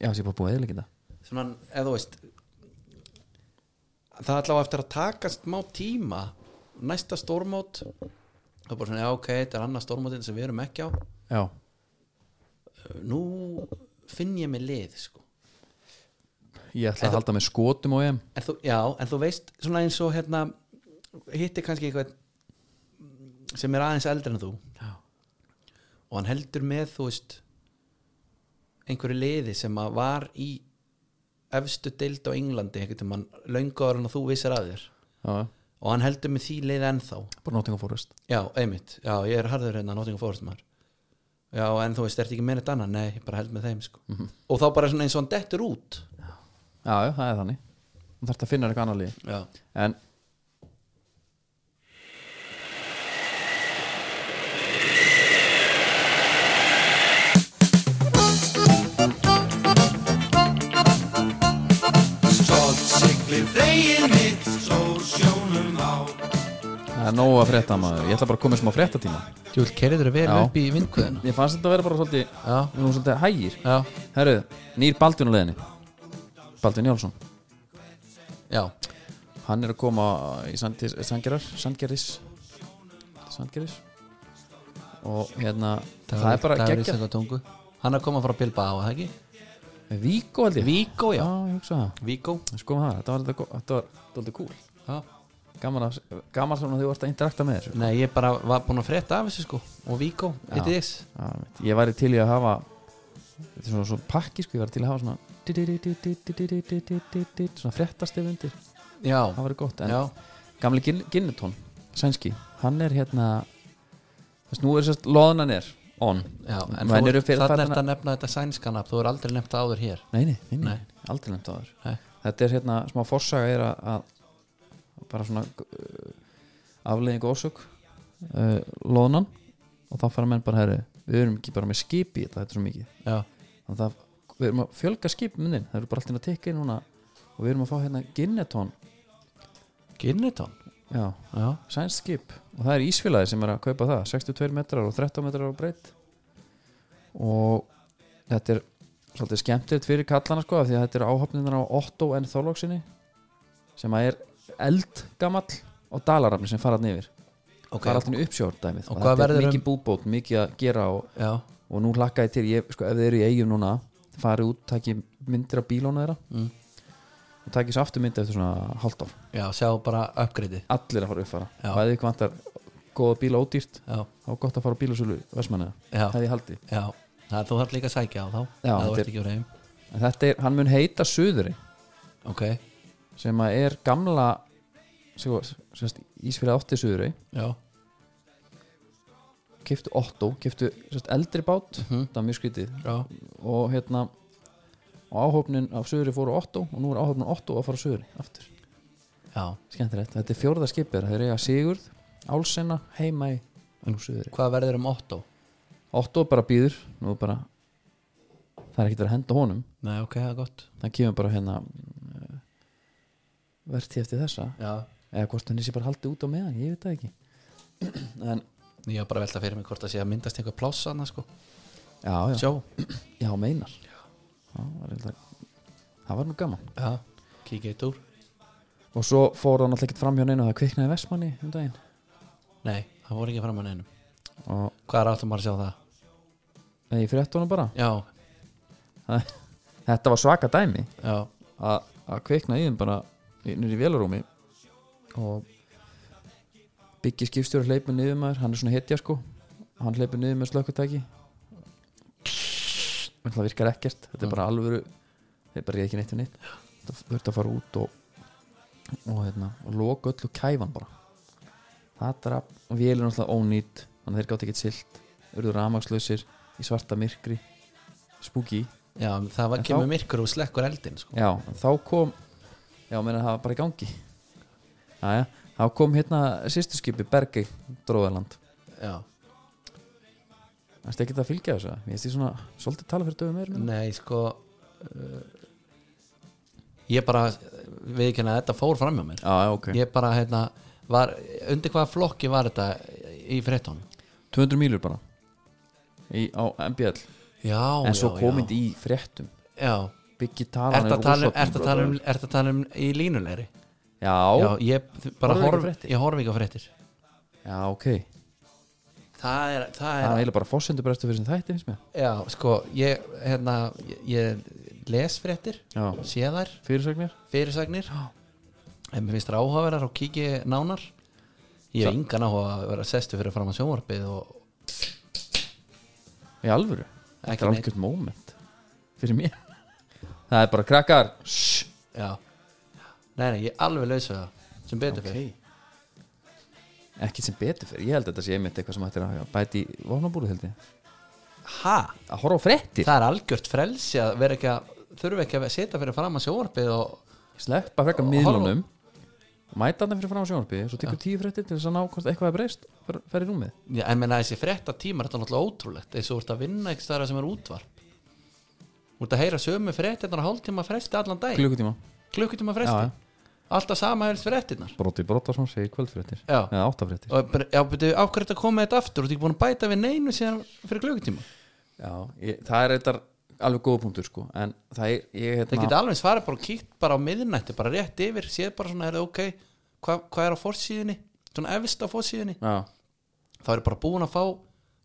B: já, þessi er bara búið eðilegita
C: svona, eða þú veist það allavega eftir að takast má tíma næsta stórmót það er bara svona, já ok, þetta er annað stórmótin sem við erum ekki á
B: já,
C: nú finn ég mig lið sko
B: ég ætla að halda með skotum og EM
C: en þú, já, en þú veist svona eins og hérna hittir kannski eitthvað sem er aðeins eldri en þú
B: Já.
C: og hann heldur með þú veist einhverju liði sem að var í efstu deild á Englandi einhvern tímann löngaður en þú vissir að þér
B: já,
C: og hann heldur með því liði ennþá
B: bara notinga fórust
C: já, einmitt, já, ég er harður hérna Nottingham Forest maður já, en þú veist, ertu ekki með þetta annað, nei, ég bara held með þeim sko. og þá bara svona eins og hann dettur út
B: já, já, það er þannig þú þarf að finna eitthvað annar lið
C: já,
B: en
D: Tótt sigli veginn mitt Svo sjónum á
B: það er nógu að frétta maður ég ætla bara að koma í smá fréttatíma
C: Júl, kerður þér vel
B: Já.
C: upp í vindkvöðina
B: ég fannst þetta að vera bara svolítið
C: já,
B: við erum svolítið hægir
C: já,
B: Herru, nýr Baldvin á leiðinni Baldvin Jálsson
C: já
B: Hann er að koma í Sandis- Sandgerðar Sandgerðis Sandgerðis Og hérna, það er bara geggja
C: geggja Hann er að koma frá Bilbao, er það ekki?
B: Víkó held ég
C: Víkó, já
B: Já, ég hugsa það
C: Víkó,
B: En Sko maður, þetta var þetta- þetta var doldið cool
C: já
B: Gaman, að, gaman svona þegar þú ert að interakta með þessu
C: Nei, ég bara var búin að frétta af þessu sko Og Víkó, it is
B: Já, mitt. Ég væri til í að hafa Þetta er svona svo pakki sko Ég væri til að hafa svona Svona fréttastef undir
C: Já,
B: Það væri gott En
C: já,
B: gamli Gin- Ginnetón sænski, hann er hérna þess nú er sérst loðnan er on
C: já En
B: Menn
C: þú-
B: eru fyrir
C: þarna
B: þarna-
C: ert að nefna þetta sænskanab Þú er aldrei nefnt það áður hér
B: nei, nei, nei, nei,
C: Nei.
B: aldrei nefnt á þér
C: Nei.
B: þetta er hérna, smá forsaga er að, að bara svona uh, afleiðing og orsök uh, loðnan og þá fara menn bara herri, við erum ekki bara með skip í þetta þetta er svo mikið,
C: Já,
B: þannig að það- við erum að fjölga skipmyndin, hérna það eru bara allt inn að tekka inn núna og við erum að fá hérna Ginnetón
C: Ginnitón
B: já,
C: já,
B: sænst skip og það er Ísfélagi sem er að kaupa það 62 metrar og 13 metrar á breytt og þetta er svolítið skemmtilegt fyrir kallana sko af því að þetta er áhafninar á Otto en Þorlóksinni sem að er eldgamall og dalarafni sem farað niður
C: ok
B: það er alltaf uppsjór dæmið
C: Og
B: og
C: hvað
B: þetta er
C: verður um-
B: mikið búbót, mikið að gera og,
C: já,
B: og nú hlakka ég til, ég, sko, ef þið eru í eigum núna farið út, takki myndir af bílónu þeirra
C: Mm.
B: og takki svo aftur myndi eftir svona hálft ár
C: já, sjá bara upgradeið
B: allir að fara að uppfara
C: Já.
B: og ef ykkur vantar góða bíla ódýrt
C: já,
B: þá er gott að fara á bílasölu Vestmannaða,
C: Já.
B: hefði ég haldið
C: já, það, þú þarf líka að sækja á þá
B: Já,
C: það
B: þetta
C: vart
B: er-
C: ekki úr heim
B: en þetta er, hann mun heita Suðri
C: ok,
B: sem að er gamla sko, sérst, Ísfyrir átti Suðri
C: já,
B: kiftu Otto, kiftu sérst, eldri bát
C: Mhm.
B: það er mjög skrítið
C: já,
B: og hérna og áhófnin af Suðri fóru Otto og nú er áhófnin Otto að fara á Suðri aftur
C: já
B: skemmtilegt, þetta er fjórða skipir þeir eiga Sigurð, Álsena, Heimæ og nú Suðri
C: hvað verður um Otto?
B: Otto bara býður, nú bara það er ekkert verið að henda honum
C: nei, ok, það er gott
B: það kemur bara hérna verðtíð eftir þessa
C: já,
B: eða hvort hann sé bara haldið út á meðan, ég veit það ekki en,
C: ég var bara að velta fyrir mig hvort það sé að myndast einhver pláss annað sko,
B: já, já,
C: sjá
B: já, meinar já, var eitthvað, það var nú gaman
C: já, kíkja eitt úr
B: og svo fór hann alltaf ekkert fram hjá neina það kviknaði í Vestmanni um daginn
C: nei, það voru ekki framann einum
B: og
C: hvað er alltaf maður að sjá það?
B: eða ég frétt honum bara
C: já,
B: Það- þetta var svaka dæmi
C: já,
B: að að kvikna í þeim bara nýri í vélarúmi og byggi skipstjóri hleypur niður maður, hann er svona hetja sko hann hleypur niður með slökkutæki en það virkar ekkert þetta er bara alvöru þeir bara ekki neitt við neitt það þurfti að fara út og og, hérna, og loka öllu kæfan bara það draf og vélur náttúrulega ónýtt þannig að þeir gátt ekkert silt urðu ramagslausir í svarta myrkri spooky
C: já, það var,
B: En
C: kemur
B: þá-
C: myrkur og slekkur eldin sko.
B: Já, þá kom Já, meina það var bara í gangi Jæja, þá kom hérna sýsturskipi Bergey, Dróðaland
C: já,
B: Það er ekki að fylgja þessu Ég veist ég svona, svolítið tala fyrir döfum meir
C: nei, sko uh, ég bara við ekki að þetta fór fram hjá mér
B: Já, ok
C: ég bara hérna var, undir hvaða flokki var þetta í frétton
B: 200 mílur bara í, Á MBL
C: já,
B: En svo
C: já,
B: komind
C: já.
B: í fréttum
C: já.
B: Byggi talan
C: Ertu að tala um-
B: rosa-
C: ertu að tala um- ertu að tala um í línulegri já,
B: Já,
C: ég bara
B: Horfðu ekki á
C: horf,
B: fréttir?
C: ég horf ekki á fréttir
B: já, ok Það
C: það er, það
B: er
C: er
B: eiginlega bara forsendubrestu fyrir sem þætti, finnst mér
C: já, sko, ég hérna, ég, ég les fréttir
B: Já.
C: sé þær,
B: Fyrirsögnir
C: fyrirsagnir en mér finnst það áhugaverðar og kíki nánar ég er engan áhuga að vera sestu fyrir fram að sjónvarpið og
B: Í alvöru
C: Ekki
B: Þetta er
C: neitt.
B: algjört moment Fyrir mér Það er bara krakkar Shhh
C: já, nei, nei, ég er alveg laus við það sem betur fyrir
B: ekki sem betur fyrir, ég held að þetta sé einmitt eitthvað sem ættir að bæti í vopnabúru held ég
C: ha?
B: að horfa á frettir,
C: það er algjört frelsi að vera ekki að þurfa ekki að setja fyrir fram að sjónvarpið og
B: sleppa frekar
C: Og
B: miðlunum og mæta þarna fyrir fram á sjónarpi svo tekur tíu frettir til þess að ná hvort eitthvað er breyst fer- fer í rúmið,
C: já, en menna þessi frétta tímar þetta er náttúrulega ótrúlegt eins og þú ert að vinna ekki stara sem er útvarp þú ert að heyra sömu fréttirnar á hálftíma fresti allan dag
B: klukkutíma
C: klukkutíma
B: Já,
C: fresti, alltaf sama helst fréttirnar
B: broti brota svona segir kvöldfrettir
C: Já.
B: eða áttafrettir
C: og bara, já, betur, á hverju þetta komið þetta aftur og þú ert ekki búin að bæta við neinu síðan fyrir klukkutíma
B: Já, ég, það er eitthvað alveg góða punktur sko en það er, ég
C: það
B: hérna
C: geti alveg eins farið bara og kíkt bara á miðnætti bara rétt yfir, séð bara svona, er ok hvað hva er á fórsíðinni, svona efst á fórsíðinni
B: Já.
C: þá eru bara búin að fá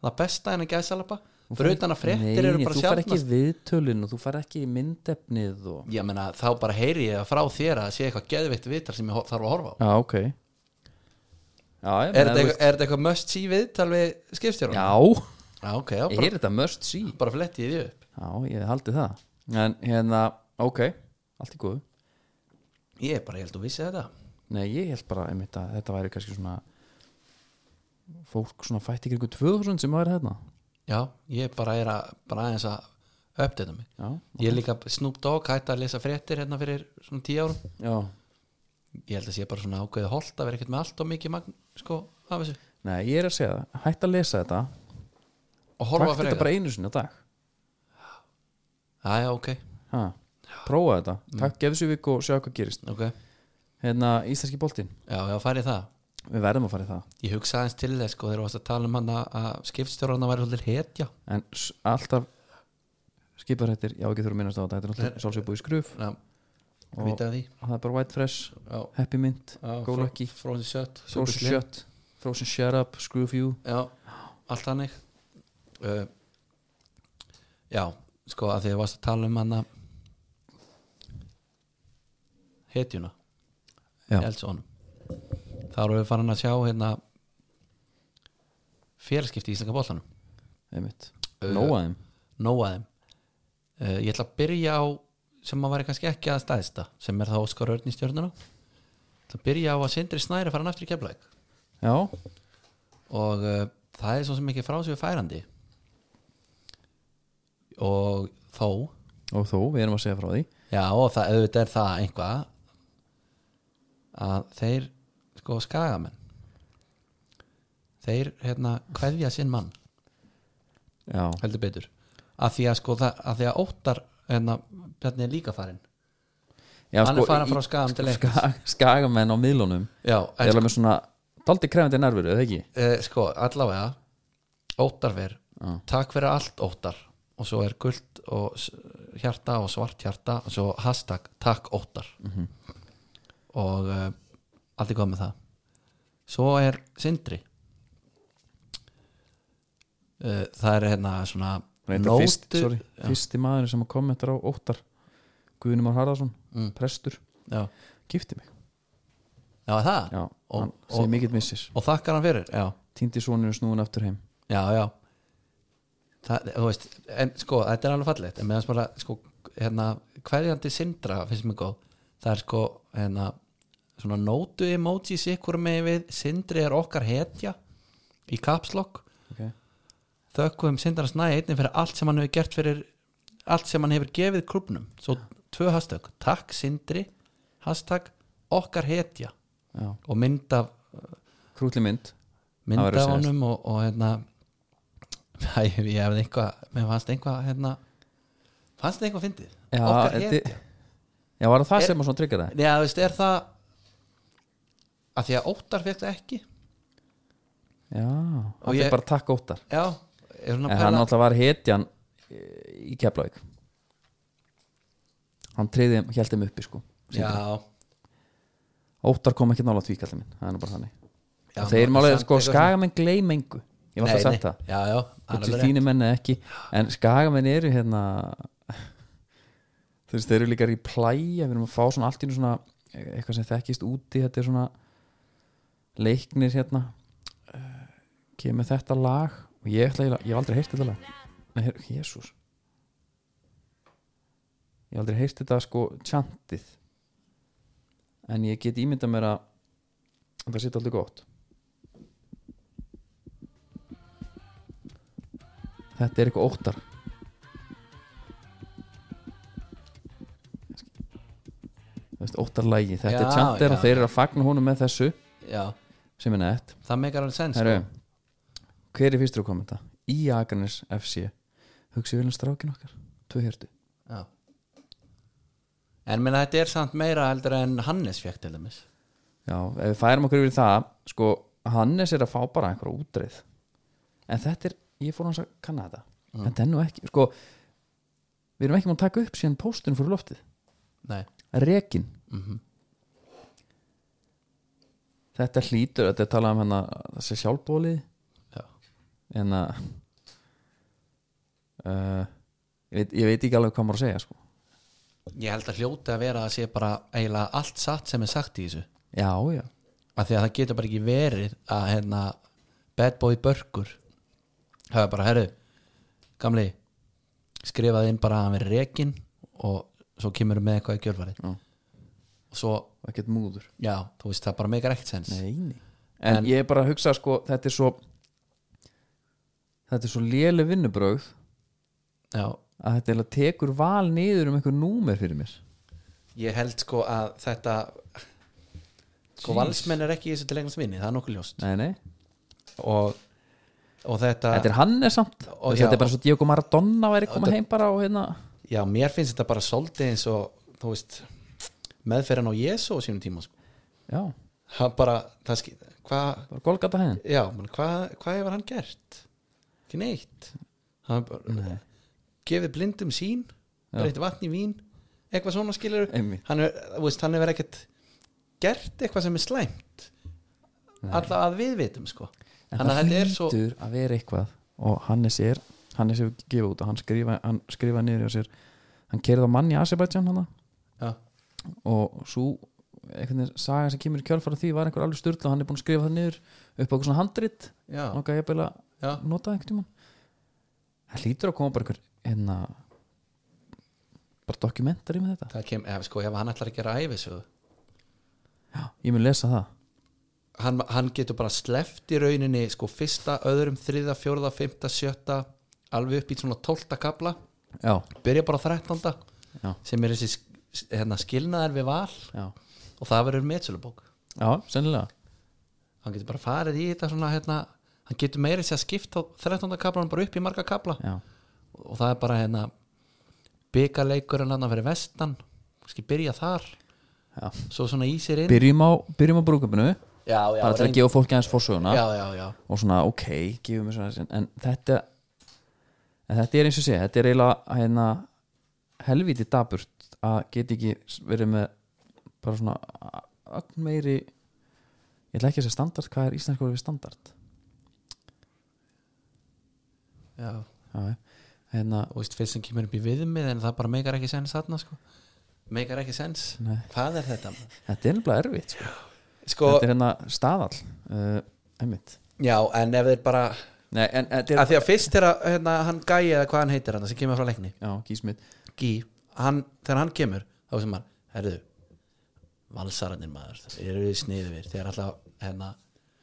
C: það besta en að gæsalapa fyrir utan að fréttir
B: Nei,
C: eru bara
B: þú far ekki
C: sjálfnast
B: viðtölin og þú far ekki í myndefnið og...
C: ég meina þá bara heyri ég frá þér að sé eitthvað geðveikt viðtal sem ég ho- þarf að horfa á
B: Já, ok Já, ég
C: er
B: meina,
C: þetta
B: þú
C: eitthvað, er þetta eitthvað must see viðtal við skipstjóra?
B: veist- Já
C: já ok, já,
B: Ég
C: bara,
B: er þetta must see
C: bara fletti ég því upp
B: Já, ég haldi það En hérna, ok, allt í góðu
C: ég er bara, ég held að vissi þetta
B: Nei, ég held bara einmitt að þetta væri kannski svona Fólk svona fætt ykkur 2000 sem væri hérna
C: já, ég bara er að bara aðeins að uppdata mig
B: Já,
C: ég er líka Snoop Dogg hætti að lesa fréttir hérna fyrir svona tíu árum
B: já
C: ég held að sé bara svona ákveðið holt að vera ekkert með allt og mikið magn sko af þessu
B: Nei, ég er að segja það, hætt að lesa þetta
C: og horfa
B: Taktu
C: fyrir
B: þetta bara einu sinni á dag
C: já, já, ok,
B: ha. Mm. Prófa þetta, takk gefðu sér vik og sjá hvað gerist
C: ok
B: Hérna, íslenski boltinn
C: já, já, farið það
B: við verðum að fara í það
C: Ég hugsa aðeins til þess sko þegar varst að tala um hann að- að skipstjórana væri svolítið hetja
B: en s- alltaf skiparættir, já ekki þurfum að minnast á þetta þetta er alltaf sálsveipúi skruf
C: Já,
B: og
C: vita því
B: það er bara white fresh,
C: Já,
B: happy mint
C: já,
B: Go
C: Fro-
B: Lucky.
C: Frozen Shut
B: frozen
C: Superslim.
B: shut, frozen shut up screw you,
C: Já, allt hannig uh, Já, sko að því að varst að tala um hann að hetjuna
B: Já.
C: Eldsson þá erum við farin að sjá hérna félskipti í Íslanda bóllanum
B: einmitt
C: Uh,
B: nóa þeim,
C: nóa þeim uh, ég ætla að byrja á sem að væri kannski ekki að staðista sem er þá Óskar Örn í stjórnuna ætla að byrja á að Sindri Snæri fara hann aftur í keflæk
B: já
C: og uh, það er svo sem ekki frá sig færandi og þó
B: og þó, við erum að segja frá því
C: já og það auðvitað er það einhvað að þeir sko skagamenn þeir hérna kveðja sinn mann
B: já,
C: heldur betur að því að sko það, að því að óttar hérna Bjarni er líka farinn
B: já sko,
C: Hann er farinn frá Skagam til Leiknis.
B: skag, skagamenn á miðlunum
C: já,
B: er
C: en sko,
B: alveg með svona daldi krefandi nervur, eða ekki?
C: eh, sko, allavega óttar ver, takk fyrir allt óttar og svo er guld og s- hjarta og svart hjarta og svo hashtag takk óttar
B: Mhm.
C: og uh, allt er góð með það svo er Sindri uh, það er hérna svona
B: Reyndar fyrst, sorry, fyrsti maður sem að kommentar á óttar Guðnumar Harðarsson, prestur
C: já,
B: gifti mig,
C: já það
B: já,
C: og,
B: hann
C: og,
B: segir mikill missis
C: og þakkar hann fyrir já
B: týndi soninu snúin aftur heim
C: já, já það, þú veist, en sko, þetta er alveg fallegt en meðan sem bara, sko, hérna hverjandi sindra, finnst mér góð það er sko, hérna svona nótu emojis ykkur með við sindri er okkar hetja í kapslokk,
B: okay.
C: þökkum sindra snæði einnig fyrir allt sem hann hefur gert fyrir allt sem hann hefur gefið klubnum svo tvö hashtag, takk sindri hashtag okkar hetja
B: já.
C: og mynd af
B: krútli mynd Það
C: mynd
B: verður
C: af
B: síðast.
C: honum og, og hérna æ, ég hefði eitthvað mér fannst eitthvað hérna fannst þetta eitthvað fyndið
B: já,
C: okkar
B: en
C: hér
B: þi- já, var það það
C: Er-
B: sem að svona tryggja það
C: já, þú veist, er það að því að óttar fekk það ekki
B: já,
C: Og
B: hann
C: ég-
B: fikk bara takk óttar
C: já, er
B: en
C: hún að
B: hann
C: pæla
B: náttúrulega var hetjan eh, í Keflavík hann treyði, held þeim uppi sko
C: já,
B: óttar kom ekki nála tvíkallin minn, það er nú bara þannig
C: já,
B: og þeir
C: maður-
B: málega,
C: samt
B: sko,
C: eitthvað
B: skagamenn gleym engu ég var alltaf
C: svona- Nei,
B: sagt
C: nei,
B: það
C: já, já,
B: Hvort
C: alveg
B: sem
C: rétt.
B: þínir menn eða ekki en skagamenn eru hérna þú veist, þeir eru líka í plæja við erum að fá svona allt í einu svona eitthvað sem þekkist úti, þetta er svona leiknir hérna eh, kemur þetta lag og ég ætla, eiginlega- ég hef aldrei heyrt þetta lag nei, her, jésús ég hef aldrei heyrt þetta sko tjantið en ég get ímyndað mér að þetta sitja aldrei gott Þetta er eitthvað óttar Þú veist, óttarlægi Þetta
C: Já,
B: er tjantir og
C: já.
B: þeir eru að fagna honum með þessu
C: já,
B: sem er nett
C: það meikar alveg sens
B: Heru,
C: sko.
B: Hver er fyrstur að kommenta? Í Akarnes FC Hugsið vel um strákin okkar Tvö hértu
C: Já. en minna þetta er samt meira heldur en Hannes fekk til dæmis
B: Já, ef við færum okkur yfir í það Sko, Hannes er að fá bara einhverja útreið En þetta er, ég fór hans að kanna þetta En þetta er nú ekki, sko Við erum ekki múin að taka upp síðan póstun fyrir loftið
C: nei,
B: rekin þetta hlýtur þetta er talað um hérna þessi sjálfbólið
C: já,
B: en að hérna, uh, ég, veit, ég veit ekki alveg hvað maður að segja sko.
C: ég held að hljóti að vera að sé bara eiginlega allt satt sem er sagt í þessu
B: já, já,
C: af því að það getur bara ekki verið að hérna, bad boy börkur það er bara, herru gamli, skrifaði inn bara að hann verið rekin og svo kemur með eitthvað í kjölfarið
B: Já.
C: og svo,
B: ekkert múður
C: já, þú veist, það bara meikar ekkert sens
B: Neini. en, en ég er bara að hugsa sko, þetta er svo þetta er svo léle vinnubrögð
C: já,
B: að þetta eiginlega tekur val niður um einhver númer fyrir mér
C: ég held sko að þetta sko valsmenn er ekki í þessu til lengast vinni, það er nokkuð ljóst
B: nei, nei.
C: og, og þetta,
B: þetta er Hannes samt
C: Og
B: þetta er
C: já.
B: bara svo Diego Maradona væri koma
C: þetta-
B: heim bara og hérna
C: já, mér finnst þetta bara svolítið eins og, þú veist meðferðan á Jésu á sínum tíma sko
B: já
C: hann bara, það skil hvað,
B: bara golgata hæðin
C: já, menn, hvað hvað hefur hann gert ekki neitt hann bara, gefið blindum sín
B: Já.
C: breytti vatn í vín eitthvað svona skilur
B: Einmitt.
C: hann, er, þú veist, hann hefur ekkert gert eitthvað sem er slæmt alla að við vitum sko
B: en
C: þannig að
B: það
C: þetta er svo
B: hlýtur að vera eitthvað og Hannes er, Hannes hefur gefið út og hann skrifa, hann skrifa niður á sér hann kerði á mann í Azerbaijan hana
C: já,
B: og svo einhvern veginn saga sem kemur í kjálfara því var einhver alveg styrla og hann er búin að skrifa það niður upp á eitthvað svona handrit
C: já,
B: og hann gæði að
C: já,
B: nota einhvern tímann það hlýtur að koma bara einhver hérna bara dokumentari með þetta
C: það kem, ef, sko, ef hann ætlar að gera æfisögu
B: ég mun lesa það
C: hann, hann getur bara sleft í rauninni sko fyrsta, öðrum, þriða, fjórða, fimmta, sjötta alveg upp í svona tólta kapla
B: já,
C: byrja bara á þrettánda
B: Já.
C: sem er þessi sk- s- hérna, skilnaðar við val
B: já,
C: og það verður metsölubók
B: já, sennilega
C: hann getur bara farið í þetta svona hérna, hann getur meiri sér að skipta þrettánda kaplan bara upp í marga kapla
B: já,
C: og það er bara hérna byggarleikurinn hann að vera vestan kannski byrja þar
B: Já.
C: svo svona í sér inn
B: byrjum á, byrjum á brúkabinu
C: já, já,
B: bara til að
C: reyn-
B: gefa fólki aðeins fórsöguna
C: já, já, já,
B: og svona ok, gefum við svona sinn. en þetta en þetta er eins og sé, þetta er eiginlega hérna, helviti daburt að geta ekki verið með bara svona ögn meiri ég ætla ekki að segja standard, hvað er íslensk orðið við standard?
C: já.
B: Já, hérna,
C: og veist, fyrst sem kemur upp í viðmið en það bara meikar ekki sens þarna sko. meikar ekki sens
B: Nei.
C: hvað er þetta? maður?
B: þetta er nefnilega erfitt sko.
C: sko,
B: þetta er hérna staðall uh, einmitt
C: já, en ef þeir bara
B: Nei, en, þetta er,
C: að því að fyrst þegar að, hérna, hann gæi eða hvað hann heitir hann sem kemur frá leikni
B: já, gísmið
C: Gí, hann, þegar hann kemur þá sem hann, herðu valsararnir maður, þeir eru sniðuvir þeir eru alltaf, hérna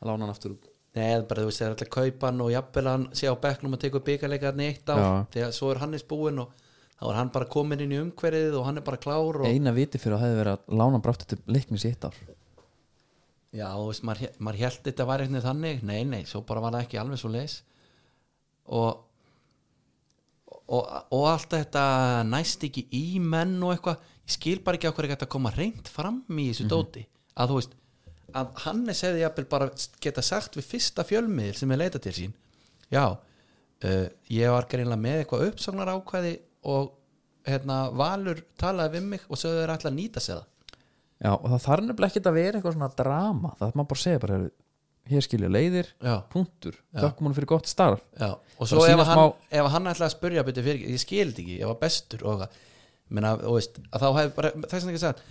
B: lána hann aftur út
C: Nei, eða bara þú veist, þeir eru alltaf að kaupa hann og jafnvel að hann sé á bekknum að teka upp byggarleika hann í eitt á,
B: Já.
C: þegar svo er Hannes búinn og þá er hann bara komin inn í umhverfið og hann er bara klár og
B: eina viti fyrir að hefði verið að lána hann brátt til leiknis í eitt ár
C: Já, þú veist, maður, hé- maður held þetta var eitthvað þannig, nei, nei, svo bara var það ekki alveg svo leis og, og og allt þetta næst ekki í menn og eitthvað, ég skil bara ekki á hverju gæti að koma reynd fram í þessu dóti að þú veist, að Hannes hefði jafnvel bara geta sagt við fyrsta fjölmiðil sem er leita til sín já, uh, ég var greinlega með eitthvað uppsagnar ákvæði og hérna, Valur talaði við mig og sögðu þeir ætla að nýta sér það
B: Já, og það þarf nefnilega ekkert að vera eitthvað svona drama það þarf maður bara að segja bara "Heyrðu, hér skilja leiðir,
C: Já.
B: punktur þökkum hún fyrir gott starf
C: Já, og svo
B: að
C: ef
B: sýna
C: hann,
B: smá-
C: ef hann ætlaði að spyrja byrja fyrir, ég skildi ekki, ég var bestur og það, menna, og veist, að þá hef bara, þess að ekki sagt,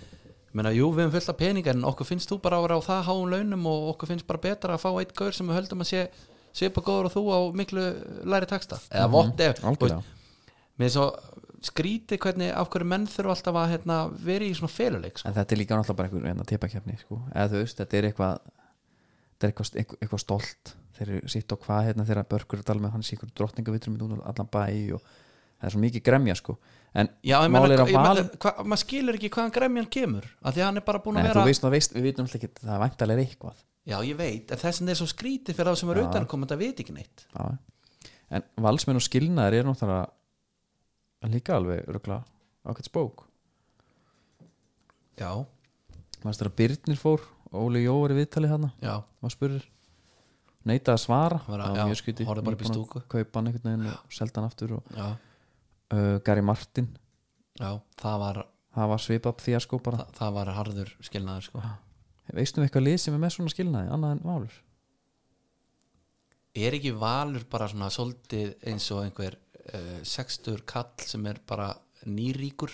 C: menna, jú, við höfum fullt af peningar en okkur finnst þú bara að vera á það háum launum og okkur finnst bara betra að fá eitt gaur sem við höldum að sé svipa góður og þú á miklu læri taksta, eða mm -hmm. vott
B: Mhm, algjörlega.
C: ef, með svo skrítið hvernig af hverju menn þurfa alltaf að hérna, vera í svona feluleik, sko.
B: en þetta er líka náttúrulega bara einhver einna tepakefni sko. eða þú veist, þetta er eitthvað þetta er eitthvað, eitthvað, eitthvað stolt þeir eru sitt og hvað hérna þegar börkur er að tala með hann sé ykkur drottningavitrum út um allan bæ og það er svo mikið gremja sko en
C: Já, ég
B: mál
C: meina,
B: er að
C: ég meina
B: val
C: hva, maður skilur ekki hvaðan gremjan kemur, að því að hann er bara búin
B: Nei,
C: að
B: þú
C: vera
B: veist, þú veist, við vitum alltaf ekki það er væntalega eitthvað
C: Já, ég veit, en þess að það er svo skrítið fyrir þá sem eru utan að koma, þetta veit ekki neitt
B: Já. en valsmenn og skilnaðir er náttúrulega líka alveg örgla ákveðt spók
C: Já,
B: maður stæður að Byrnir fór Óli Jó var í viðtali hana
C: já,
B: maður spurður neitaði að svara
C: Var að-
B: Það
C: já,
B: mjög skrítið.
C: horfði bara upp í
B: Nýbúinn að
C: stúku.
B: kaupa hann einhvern veginn og selda hann aftur og
C: já,
B: uh, Gary Martin
C: já Það var,
B: það var svipað því að sko bara
C: það, það var harður skilnaður sko.
B: veistum við eitthvað lið sem er með svona skilnaði annað en Valur
C: Er ekki valur bara svona svolítið eins og einhver uh, sextur kall sem er bara nýríkur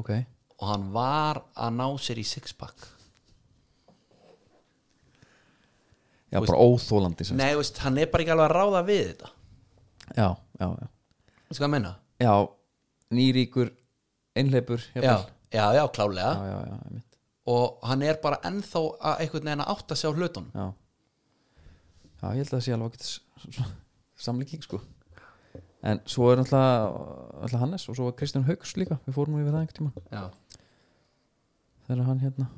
B: ok
C: og hann var að ná sér í sixpack
B: já bara óþólandi sem sagt.
C: Nei, þú veist, hann er bara ekki alveg að ráða við þetta
B: já já já
C: Veistu hvað að menna?
B: já nýríkur einhleipur
C: Já,
B: jafnvel.
C: já, já, klálega
B: já já já einmitt.
C: og hann er bara ennþá að einhvern veginn að átta sig á hlutunum
B: já já ég held að það sé alveg ákveðt samlíking sko en svo er náttúrulega náttúrulega Hannes og svo var Kristján Hauks líka við fórum nú yfir það einhvern tíma
C: Já,
B: þegar hann hérna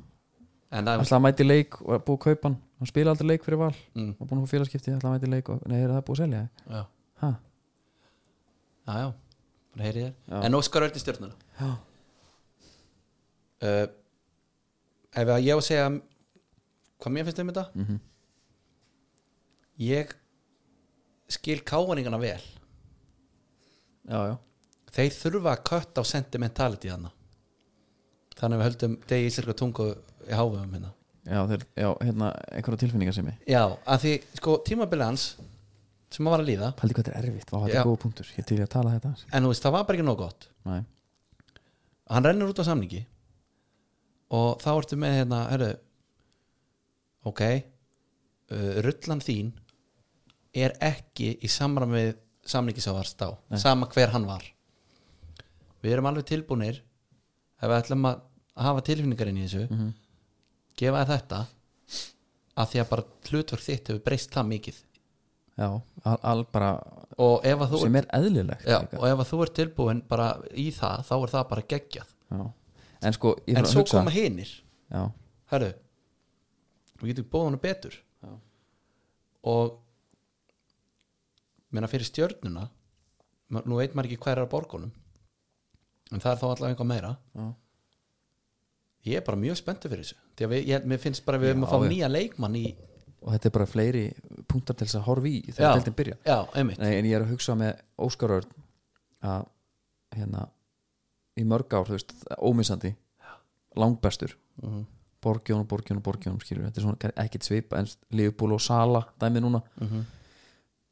C: en það
B: ætlaði að mæti leik og er búið að kaupa hann hann spila aldrei leik fyrir val
C: Mm.
B: og búin að fá félagskipti ætlaði að mæti leik og nei, er það búið að selja
C: Já
B: ha,
C: Já, já, bara heyrið þér En Óskar Örn í stjórnuna Eh,
B: Já.
C: uh, Ef að ég á að segja hvað mér finnst um þetta -hmm. ég skil káaningana vel
B: já, já,
C: þeir þurfa að kött á sentimentality þarna þannig að við höldum degi íslenska tungu í háfum hérna
B: já, þeir, já hérna einhverja tilfinningar sem ég
C: já, að því sko tímabilið hans sem að var að líða
B: Paldi hvað þetta er erfitt, þá var þetta
C: Já.
B: góða punktur Ég til ég að tala þetta aðeins.
C: en þú veist, það var bara ekki nóg gott
B: Nei,
C: hann rennur út á samningi og þá ertu með hérna herru, ok uh, rullan þín er ekki í samramið samningi sem varst á, sama hver hann var við erum alveg tilbúnir ef við ætlum að hafa tilfinningar inn í þessu
B: Mhm.
C: gefa þér þetta að því að bara hlutverk þitt hefur breyst það mikið
B: já, al, al bara
C: og ef að þú
B: sem er eðlilegt
C: já,
B: líka.
C: og ef að þú er tilbúin bara í það, þá er það bara geggjað
B: Já. En sko, ég
C: en
B: þarf að
C: svo
B: hugsa
C: koma hinir
B: Já,
C: herru, við getum bóð hana betur já. og menna fyrir stjörnuna ma- nú veit maður ekki hver er að borgunum en það er þá allavega einhvað meira
B: Já.
C: ég er bara mjög spenntu fyrir þessu því að við, ég, mér finnst bara að við erum að
B: Já,
C: fá
B: já.
C: nýja leikmann í
B: og þetta er bara fleiri punktar til þess að horfa í
C: já,
B: þegar deltinn byrja
C: já, einmitt,
B: Nei, en ég er að hugsa með Óskar Örn að hérna í mörg ár, þú veist, ómissandi langbestur mm -hmm. borgjón og borgjón og borgjón skilur þetta er svona ekkit svipa en Leifbúl og Sala dæmi núna
C: Mhm,
B: -hmm.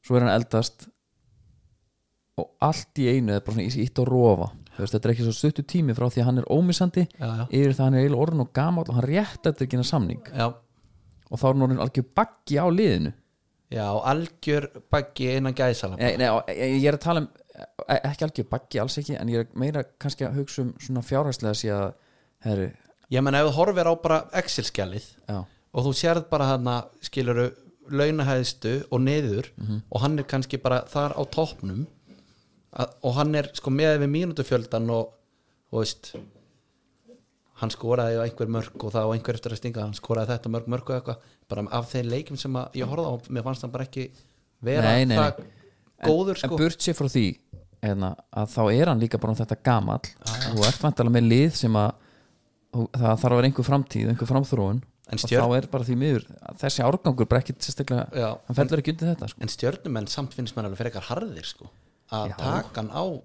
B: svo er hann eldast og allt í einu er bara svona ítt og rofa þú veist, þetta er ekki svo stuttu tími frá því að hann er ómissandi
C: Já, já.
B: yfir það hann er eiginlega orðin og gamall og hann rétt eftir ekki hann samning
C: já,
B: og þá er hann orðin algjör baggi á liðinu
C: já algjör baggi innan gæðsala
B: Nei, nei, á- ég ég er að tala um e- ekki algjör baggi, alls ekki, en ég er meira kannski að hugsa um svona fjárhæslega sé að herri,
C: ég menn ef þú horfir á bara Excel-skjalið
B: já,
C: og þú sérð bara hann að skiluru launahæðstu og neður
B: Mhm.
C: og hann er kannski bara þar á toppnum að- og hann er sko með við mínútufjöldan og þú veist hann skoraði á einhver mörg og það á einhver eftir að stinga hann skoraði þetta mörg mörg og eitthvað bara af þeir leikum sem að ég horfði á mér fannst hann bara ekki vera
B: Nei, nei,
C: það
B: nei.
C: góður
B: en
C: sko
B: burt sér frá því eðna, að þá er hann líka bara um þetta gamall
C: Ah,
B: og ert vantalega með lið sem að og það þarf að vera einhver framtíð, einhver framþróun og
C: En stjörn-
B: þá er bara því miður þessi árgangur bara ekkit sérstaklega
C: Já.
B: hann fellur ekki undir þetta sko.
C: en stjörnumenn samt finnst mér alveg frekar harðir sko að
B: Já.
C: taka hann á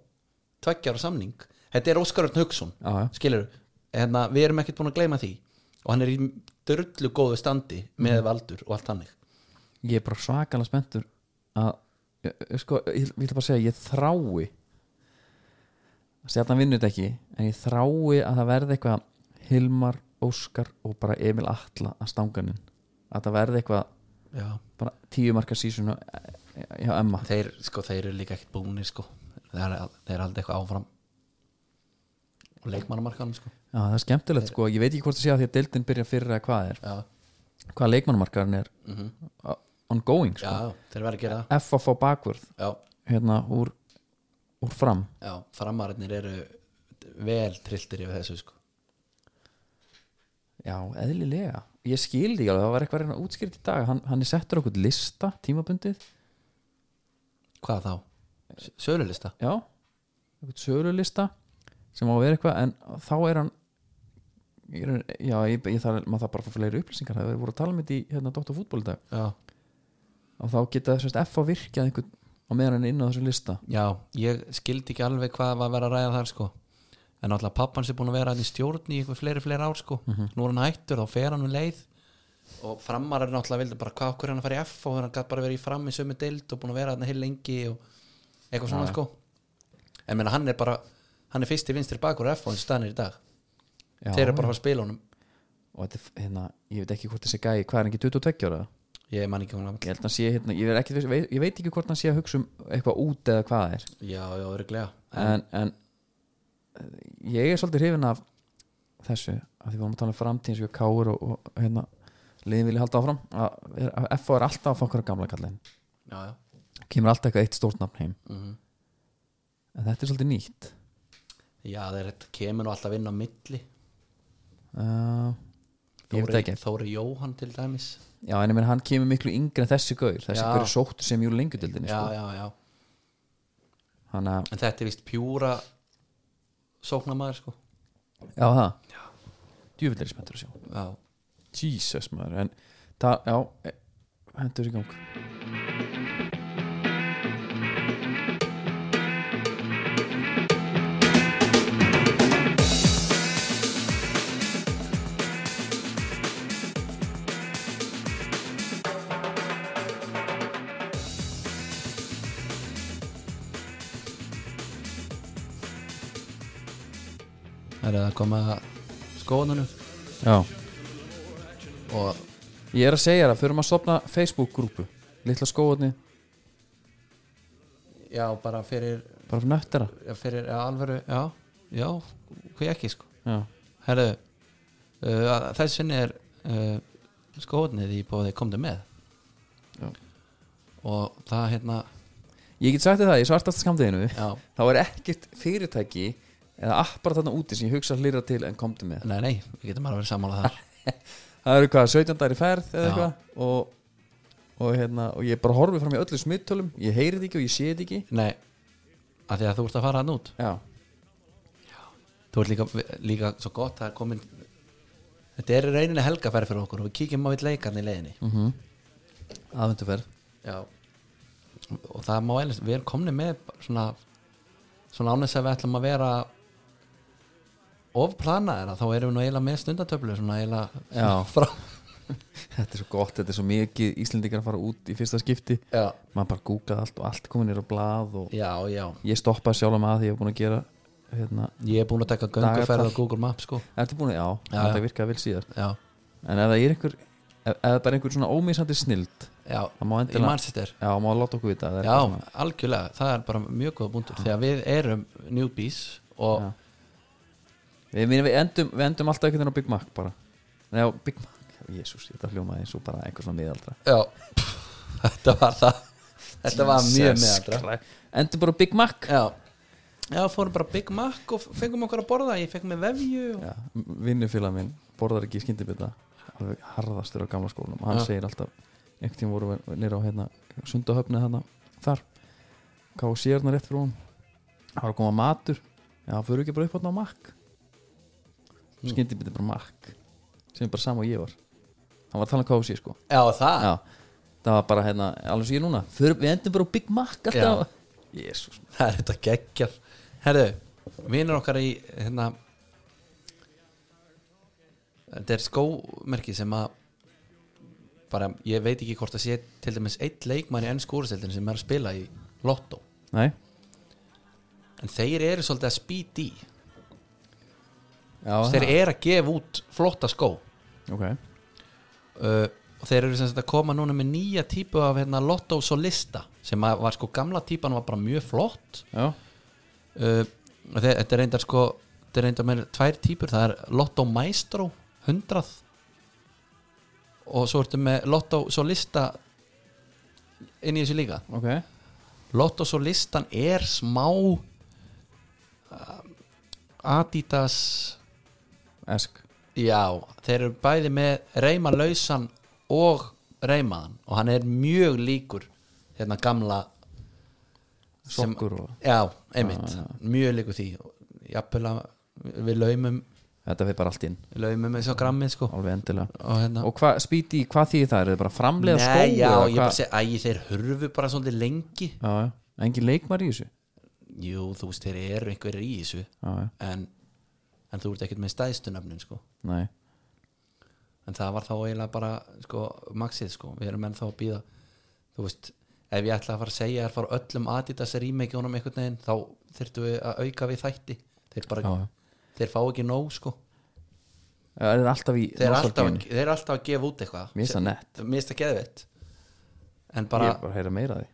C: tveggjar og samning þetta er Óskar Örn Hugson
B: Já, já.
C: skilur, hérna, við erum ekkert búin að gleyma því og hann er í drullu góðu standi með valdur og allt hannig
B: ég er bara svakalega spenntur að, ég- ég- sko, ég vil bara segja ég þrái stjarnan vinnur þetta ekki en ég þrái að það verði eitthvað Hilmar, Óskar og bara Emil Atla að stanganin að það verði eitthvað
C: já.
B: bara tíu marka sísun hjá Emma
C: þeir, sko, þeir eru líka ekkert búinir sko. þeir, þeir er aldrei eitthvað áfram og leikmannamarkanum sko.
B: Já, það er skemmtilegt sko, ég veit ekki hvort það sé að því að deildin byrja fyrir að hvað er,
C: já.
B: hvað leikmannumarkarinn er uh, ongoing
C: já,
B: sko,
C: þeir verða að gera það
B: FFF bakvörð
C: já,
B: hérna úr, úr fram
C: já, framarinnir eru vel trilltir yfir þessu sko.
B: Já, eðlilega Ég skildi ekki alveg, það var eitthvað reyna útskýrt í dag Hann, hann er settur okkur lista, tímabundið
C: hvað þá? S- sölulista?
B: Já, okkur sölulista sem á að vera eitthvað, en þá er hann ég er, Já, ég, ég þarf, maður þarf bara að fá fleiri upplýsingar Það voru að tala um þetta í hérna Dóttar fútból í dag
C: já
B: og þá geta þess að F að virkja einhvern á meðan hann er inn á þessum lista
C: Já, ég skildi ekki alveg hvað var að vera að ræða þar sko en alltaf pappans er búin að vera hann í stjórn í eitthvað fleiri fleiri ár sko
B: Mhm.
C: nú er hann hættur, þá fer hann um leið og framar er náttúrulega vildi bara hvað okkur er hann að fara í F og hann gætt bara verið í fram í sömu deild og búin að vera hann heil lengi og eitthvað svona sko en menna hann er bara, hann er fyrst í vinstri bakur F og hann stannir í dag
B: Já,
C: þeir eru bara að fara að spila honum
B: og þetta, er, hérna, ég veit ekki hvort þessi gæi hvað er hann ekki 22 ára
C: ég man ekki hún að
B: ég held að hann sé, hérna, ég, er ekki, viss- veit, ég veit ekki hvort hann sé að hugsa um eitthvað út eða hvað það er
C: já, já, örglega
B: en, en eh, ég er svolítið hrifin af þessu að því vorum að tala um framtíðin sem ég káur og, og hérna, liðin vilja halda áfram að, að FH er alltaf að fá okkur að gamla kallin
C: já, já.
B: kemur alltaf eitthvað eitt stórt nafn heim
C: Mhm.
B: en þetta er svolítið nýtt
C: já, þeir kemur nú alltaf inn á milli
B: uh, ég veit það
C: Þóri,
B: ekki
C: Þóri Jóhann til dæmis
B: já, en ég menn hann kemur miklu yngri en þessi gaur þessi
C: Já.
B: gaur er sóttur sem júli lengjudildinni
C: já,
B: sko.
C: já, já
B: hann að,
C: en þetta er vist pjúra sóknamaður sko
B: já það djúvill er ég spenntur að sjá
C: já,
B: Jesus maður, en það, já, e- hendur í gang
C: Það er að koma skóðanum
B: Já,
C: og
B: ég er að segja það, förum að stopna Facebook-grúpu Litla skóðni,
C: já, bara fyrir,
B: bara fyrir nöttera
C: fyrir já, alvöru, já, já, hvað ekki sko
B: Já,
C: Herðu, uh, að- þess vegna er uh, skóðnið í bóði komdu með
B: Já.
C: og það hérna
B: ég get sagt þér það, ég svartast skamdeginu
C: já,
B: þá er ekkert fyrirtæki eða appar þarna úti sem ég hugsa hlýra til en komdu með
C: nei, nei, við getum bara að vera sammála þar
B: það eru hvað, 17 dagar í ferð eða
C: Já.
B: eitthvað og, og, hérna, og ég bara horfi fram í öllu smittölum ég heyri þetta ekki og ég sé þetta ekki
C: nei, af því að þú ert að fara hann út
B: já,
C: þú ert líka, líka svo gott það er komin þetta er í rauninni helgafæri fyrir okkur og við kíkjum á við leikarni í leiðinni
B: mm -hmm. aðvenduferð
C: já og það má eins, við erum komni með svona, svona ánægis að við ætlum að vera ofplanaðir að þá erum við nú eiginlega með stundatöflu svona eiginlega
B: Já.
C: frá
B: þetta er svo gott, þetta er svo mikið Íslendingar að fara út í fyrsta skipti
C: já,
B: maður bara gúkað allt og allt komin er á blað og
C: já, já
B: ég stoppaði sjálf maður því ég hef búin að gera hérna,
C: ég er búin að taka gönguferð á Google Maps sko
B: ertu búin að, já,
C: Já,
B: þetta
C: já.
B: virkaði vel síðar
C: já,
B: en ef það er einhver, ef, ef það er einhver svona ómísandi snild,
C: já,
B: það má
C: í
B: endilega
C: Manchester
B: já, má láta okkur vita ef það er
C: já,
B: eitthvað svona-
C: algjörlega, það er bara mjög góða búndur þegar við erum newbies og
B: Já. Við, minni, við, endum, við endum alltaf einhvern veginn á Big Mac bara Nei, á Big Mac, jésús, þetta hljómaði eins og bara einhver svona miðaldra
C: Já, þetta var það Þetta var mjög meðaldra
B: meðaldra Endum bara á Big Mac
C: Já, já fórum bara Big Mac og fengum okkur að borða Ég fekk með vefju og...
B: Já, Vinnufélag minn borðar ekki skyndibita alveg harðastur á gamla skólanum hann
C: Já.
B: segir alltaf, einhvern tíma voru við nýra á hérna, sundahöfni þarna þar, hvað sé hérna rétt fyrir hún það var að koma matur já, það fyrir ekki bara upp á þarna á Mac
C: Mm.
B: skyndibita er bara Mac sem er bara sama og ég var hann var að tala um hvað sé sko
C: Já, það
B: já, það var bara hérna alveg svo ég núna, Förum- við endum bara á Big Mac alltaf, jésús
C: Það er þetta geggjað Herðu, vinur okkar í hérna Þetta er skómerki sem að bara, ég veit ekki hvort að sé til dæmis eitt leikmann í enn skóriseldin sem er að spila í lottó
B: nei,
C: en þeir eru svolítið að spýti í
B: já,
C: Þeir eru að gefa út flotta skó
B: ok,
C: uh, og þeir eru sem sagt að koma núna með nýja típu af hérna Lotto Solista sem að var sko gamla típan var bara mjög flott
B: já,
C: uh, og þeir, þetta er reyndar sko þetta er reyndar með tvær típur það er Lotto Maestro 100 og svo ertu með Lotto Solista inn í þessu líka
B: ok
C: Lotto Solistan er smá uh, Adidas
B: esk,
C: Já, þeir eru bæði með reyma lausan og reymaðan og hann er mjög líkur hérna gamla sem-
B: sokkur og
C: Já, einmitt, mjög líkur því Jafnvel að við laumum
B: þetta fyrir bara allt inn
C: við laumum eins og grammið sko
B: alveg endilega
C: og hérna
B: og hvað, spýti, hvað þýðir það, er þið bara framleiða skó
C: Nei, já,
B: eða
C: ég bara segi, æ, þeir hurfu bara svolítið lengi
B: já, já, engin leikmar í þessu
C: Jú, þú veist, þeir eru einhverjir í þessu
B: já, já,
C: en, en þú ert ekkert með stæðstunafnin sko
B: nei,
C: en það var þá eiginlega bara sko, maxið sko, við erum ennþá að býða þú veist, ef ég ætla að fara að segja að fara öllum Adidas rímeikjónum einhvern veginn, þá þyrftum við að auka við þætti þeir bara,
B: Já, já.
C: þeir fá ekki nóg sko
B: það er alltaf í
C: þeir eru alltaf,
B: nostalgíunni.
C: að- þeir eru alltaf að gefa út eitthvað
B: Mér finnst það nett.
C: mér finnst það geðveitt en
B: ég
C: bara,
B: er bara að heyra meira af því,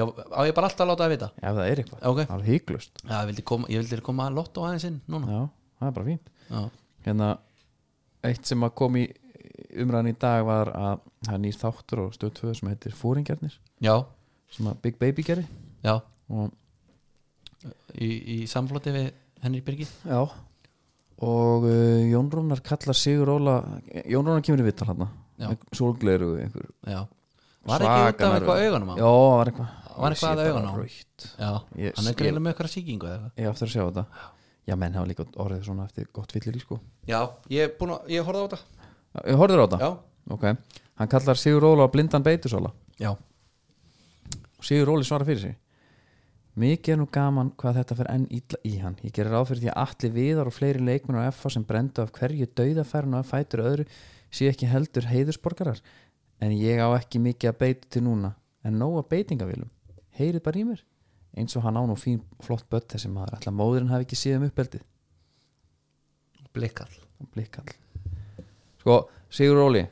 C: já, á ég bara alltaf að láta það vita
B: ef það er eitthvað
C: Ok.
B: það er hygglust,
C: já, ég vildi koma, ég vildi koma að lotto aðeins inn núna,
B: já, það er bara fínt
C: já,
B: hérna, eitt sem að kom í umræðan í dag var að það er nýr þáttur og stöð 2 sem heitir Fóringjarnir,
C: já,
B: sem að Big Baby gerir
C: já
B: og
C: í, í samfloti við Henry Birgi
B: Já Og uh, Jón Rúnar kallar Sigur Óla Jón Rúnar kemur í vittal hann
C: Já.
B: Sólgleru einhver
C: já, var ekki út af
B: svakalega
C: eitthvað
B: rauð.
C: augunum á
B: Já, var eitthvað
C: Var
B: Ég sé
C: eitthvað að
B: bara
C: augunum á?
B: rautt. Ég
C: Já, hann er
B: skil-
C: greiðlega með eitthvað sýkingu eða eitthvað
B: Ég á eftir að sjá þetta Já, menn hafa líka orðið svona eftir gott fyllir í sko
C: Já, ég, búna, ég horfði á þetta
B: Ég horfður á þetta?
C: Já,
B: ok, hann kallar Sigur Óla á blindan beitusóla
C: Já,
B: og Sigur Óli svarar fyrir sig mikið er nú gaman hvað þetta fer enn illa í hann ég gerir ráð fyrir því að allir viðar og fleiri leikmenn á FH sem brendu af hverju dauðafærun og fætur öðru sé ekki heldur heiðursborgarar en ég á ekki mikið að beita til núna en nóga beitingavílum, heyrið bara í mér eins og hann á nú fín flott börn þessi maður, ætla móðurinn hafi ekki síðum uppeldið
C: blikkall
B: og blikkall sko, Sigur Óli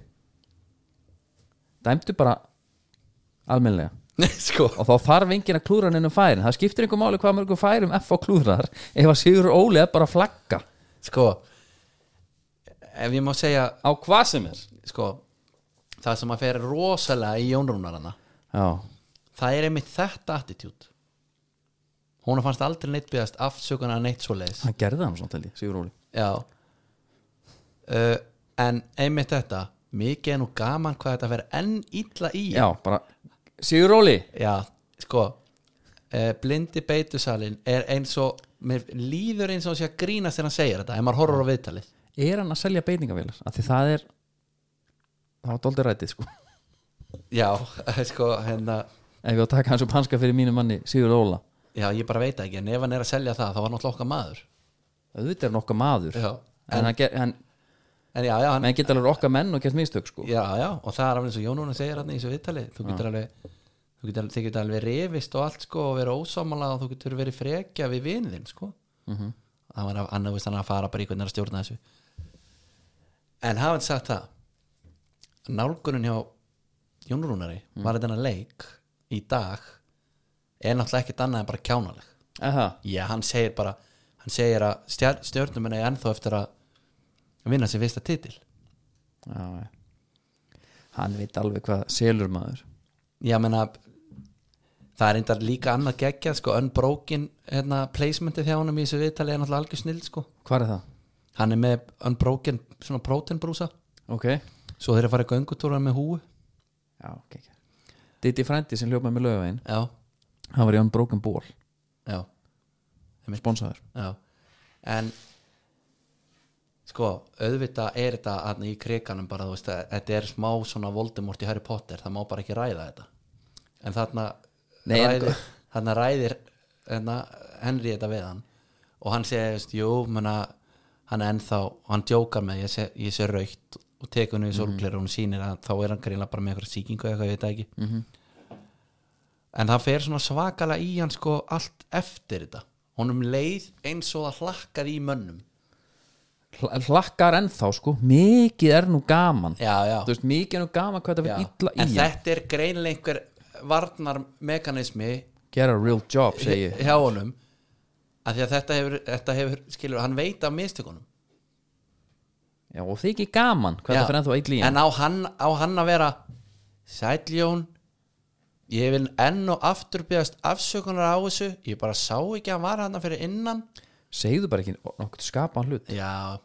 B: dæmdu bara almennlega
C: Nei, sko
B: og þá þarf enginn að klúra hann innum færin það skiptir einhver máli hvað mörgum færum F á klúrar ef að Sigur Óli er bara að flagga
C: Sko Ef ég má segja,
B: á hvað sem er
C: sko Það sem að fer rosalega í Jónrúnarana
B: já,
C: Það er einmitt þetta attitút Hún fannst aldrei neitt byggast afsökunar neitt svoleiðis
B: hann gerði hann svona til því, Sigur Óli
C: Já uh, En einmitt þetta Mikið er nú gaman hvað þetta verið enn illa í
B: já, bara, Sigur Óli
C: Já, sko uh, Blindi beitusalinn er eins og Mér líður eins og hann sé að grínast þegar hann segir þetta Ef maður horfur á viðtalið
B: er hann að selja beitingavélar af því það er það var dóldi rætið sko
C: Já, sko, hérna
B: ef ég á að taka hans upp hanska fyrir mínu manni Sigur Óla
C: Já, ég bara veit það ekki, en ef hann er að selja það þá var náttúrulega okkar maður
B: auðvitað er nokka maður
C: Já,
B: en, hann, ger, hann,
C: En já, já, hann,
B: menn geta alveg okkar menn og gert mistök sko
C: já, já, og það er alveg eins og Jónúna segir hann í þessu viðtali þú getur alveg þú getur alveg, þið getur alveg revist og allt sko og verið ósámála og þú getur verið frekja við vinðin sko það var hann að hann að fara bara í hvernig er að stjórna þessu en hafði sagt það nálgunin hjá Jónúrunari mm. var þetta leik í dag er náttúrulega ekkert annað en bara kjánaleg
B: Aha.
C: Já, hann segir bara hann segir að stjár- stjörnum er ennþá eftir að vinna sér fyrsta titil
B: já, já. hann veit alveg hvað selur maður
C: Já, menna það er eindar líka annað geggja sko, unbroken hérna, placementið hjá honum í þessu viðtali er náttúrulega algjör snill sko.
B: hvað er það?
C: hann er með unbroken svona protein brúsa
B: ok já,
C: svo þeir eru að fara í göngutúra með húu
B: ok, ok Diddy Frændi sem ljópaði með lögavegin
C: Já,
B: hann var í Unbroken Ball
C: já,
B: sponsaður
C: já en sko, auðvitað er þetta hann, í krikanum bara, þú veist, að, þetta er smá svona Voldemort í Harry Potter, það má bara ekki ræða þetta en þarna
B: Nei, en- sko-
C: ræðir, þarna ræðir hérna, Henry þetta við hann og hann segir, veist, jú, menna hann er ennþá, og hann djókar með ég sé, ég sé raukt og tekur
B: Mhm.
C: henni í sorgleir og hún sýnir að þá er hann greinlega bara með eitthvað sýkingu eða eitthvað, ég veit það ekki en það fer svona svakalega í hann sko allt eftir þetta honum um leið eins og það hlakkaði í mönnum
B: Hla- hlakkar ennþá sko mikið er nú gaman
C: já, já,
B: þú veist mikið er nú gaman hvað það
C: já.
B: verið illa
C: en
B: í hann
C: þetta er greinlega einhver varnarmekanismi
B: get a real job segi ég
C: hjá honum af því að þetta hefur, þetta hefur skilur, hann veit af mistökunum
B: já, og þykir gaman hvað
C: Já.
B: það fyrir ennþá illa í hann
C: en á hann, á hann að vera sætljón ég vil enn og aftur byggast afsökunar á þessu ég bara sá ekki að hann var hann fyrir innan
B: segðu bara ekki nokkuð skapaðan hlut
C: Já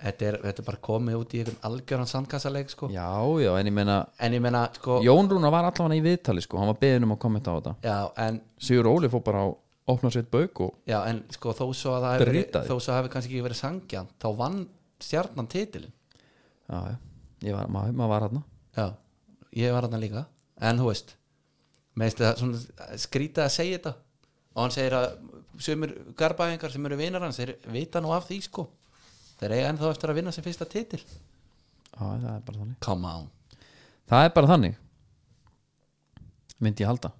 C: Þetta er, þetta er bara komið út í einhvern algjöran sandkassaleik sko.
B: já já en ég meina
C: En ég meina sko,
B: Jón Rúna var allavega í viðtali sko hann var beðin um að kommenta á þetta
C: já, en,
B: Sigur Óli fór bara á opna sér bauk og
C: já, en sko, þó svo að það hafi verið-
B: Drita því.
C: þó svo hafi kannski ekki verið sangjan þá vann stjarnan titilin
B: já, já, ég var, maður, maður var hann
C: Já, ég var þarna líka En þú veist mér finnst það svona skrýta að segja þetta og hann segir að sömur garbaðingar sem eru vinar hans, þeir vita nú af því sko þeir eiga ennþá eftir að vinna sem fyrsta titil
B: já, það er bara þannig
C: Come on
B: það er bara þannig myndi ég halda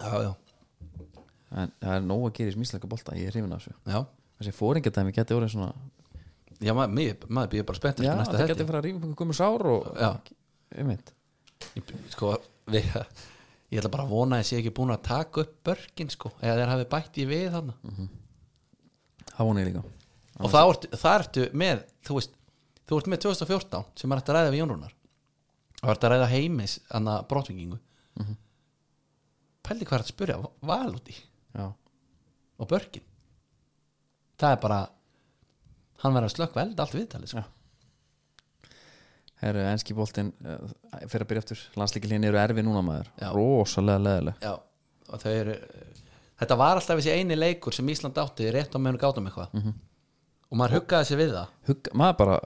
C: Já, já,
B: en það er nóg að gera í smísleika bolta ég er hrifin af þessu
C: já,
B: þessi fóringatæmi geti orðið svona
C: já maður, mér- maður býður bara spennt
B: já, það geti fara að rífa einhvern gummi sár og
C: Já.
B: einmitt
C: Ég- sko, við, ég ætla bara að vona að ég sé ekki búin að taka upp börkin sko, eða þeir hafi bætt í við þarna
B: það vona ég líka
C: og það ertu, það ertu með þú veist, þú ert með 2014 sem er hægt að ræða við Jónrúnar og ert að ræða heimis anna brottvingingu mm pældi hvað er að spyrja val út í
B: já,
C: og börkin það er bara hann verður að slökk veld allt viðtalið sko.
B: Já. herru, enski boltin uh, fyrir að byrja eftir landslíkilíðin eru erfi núna maður
C: Já.
B: rosalega leðileg
C: Já, og þau eru þetta var alltaf þessi eini leikur sem Ísland átti rétt á meðan gátum eitthvað mm -hmm. og maður huggaði sér við það
B: Hugga, maður bara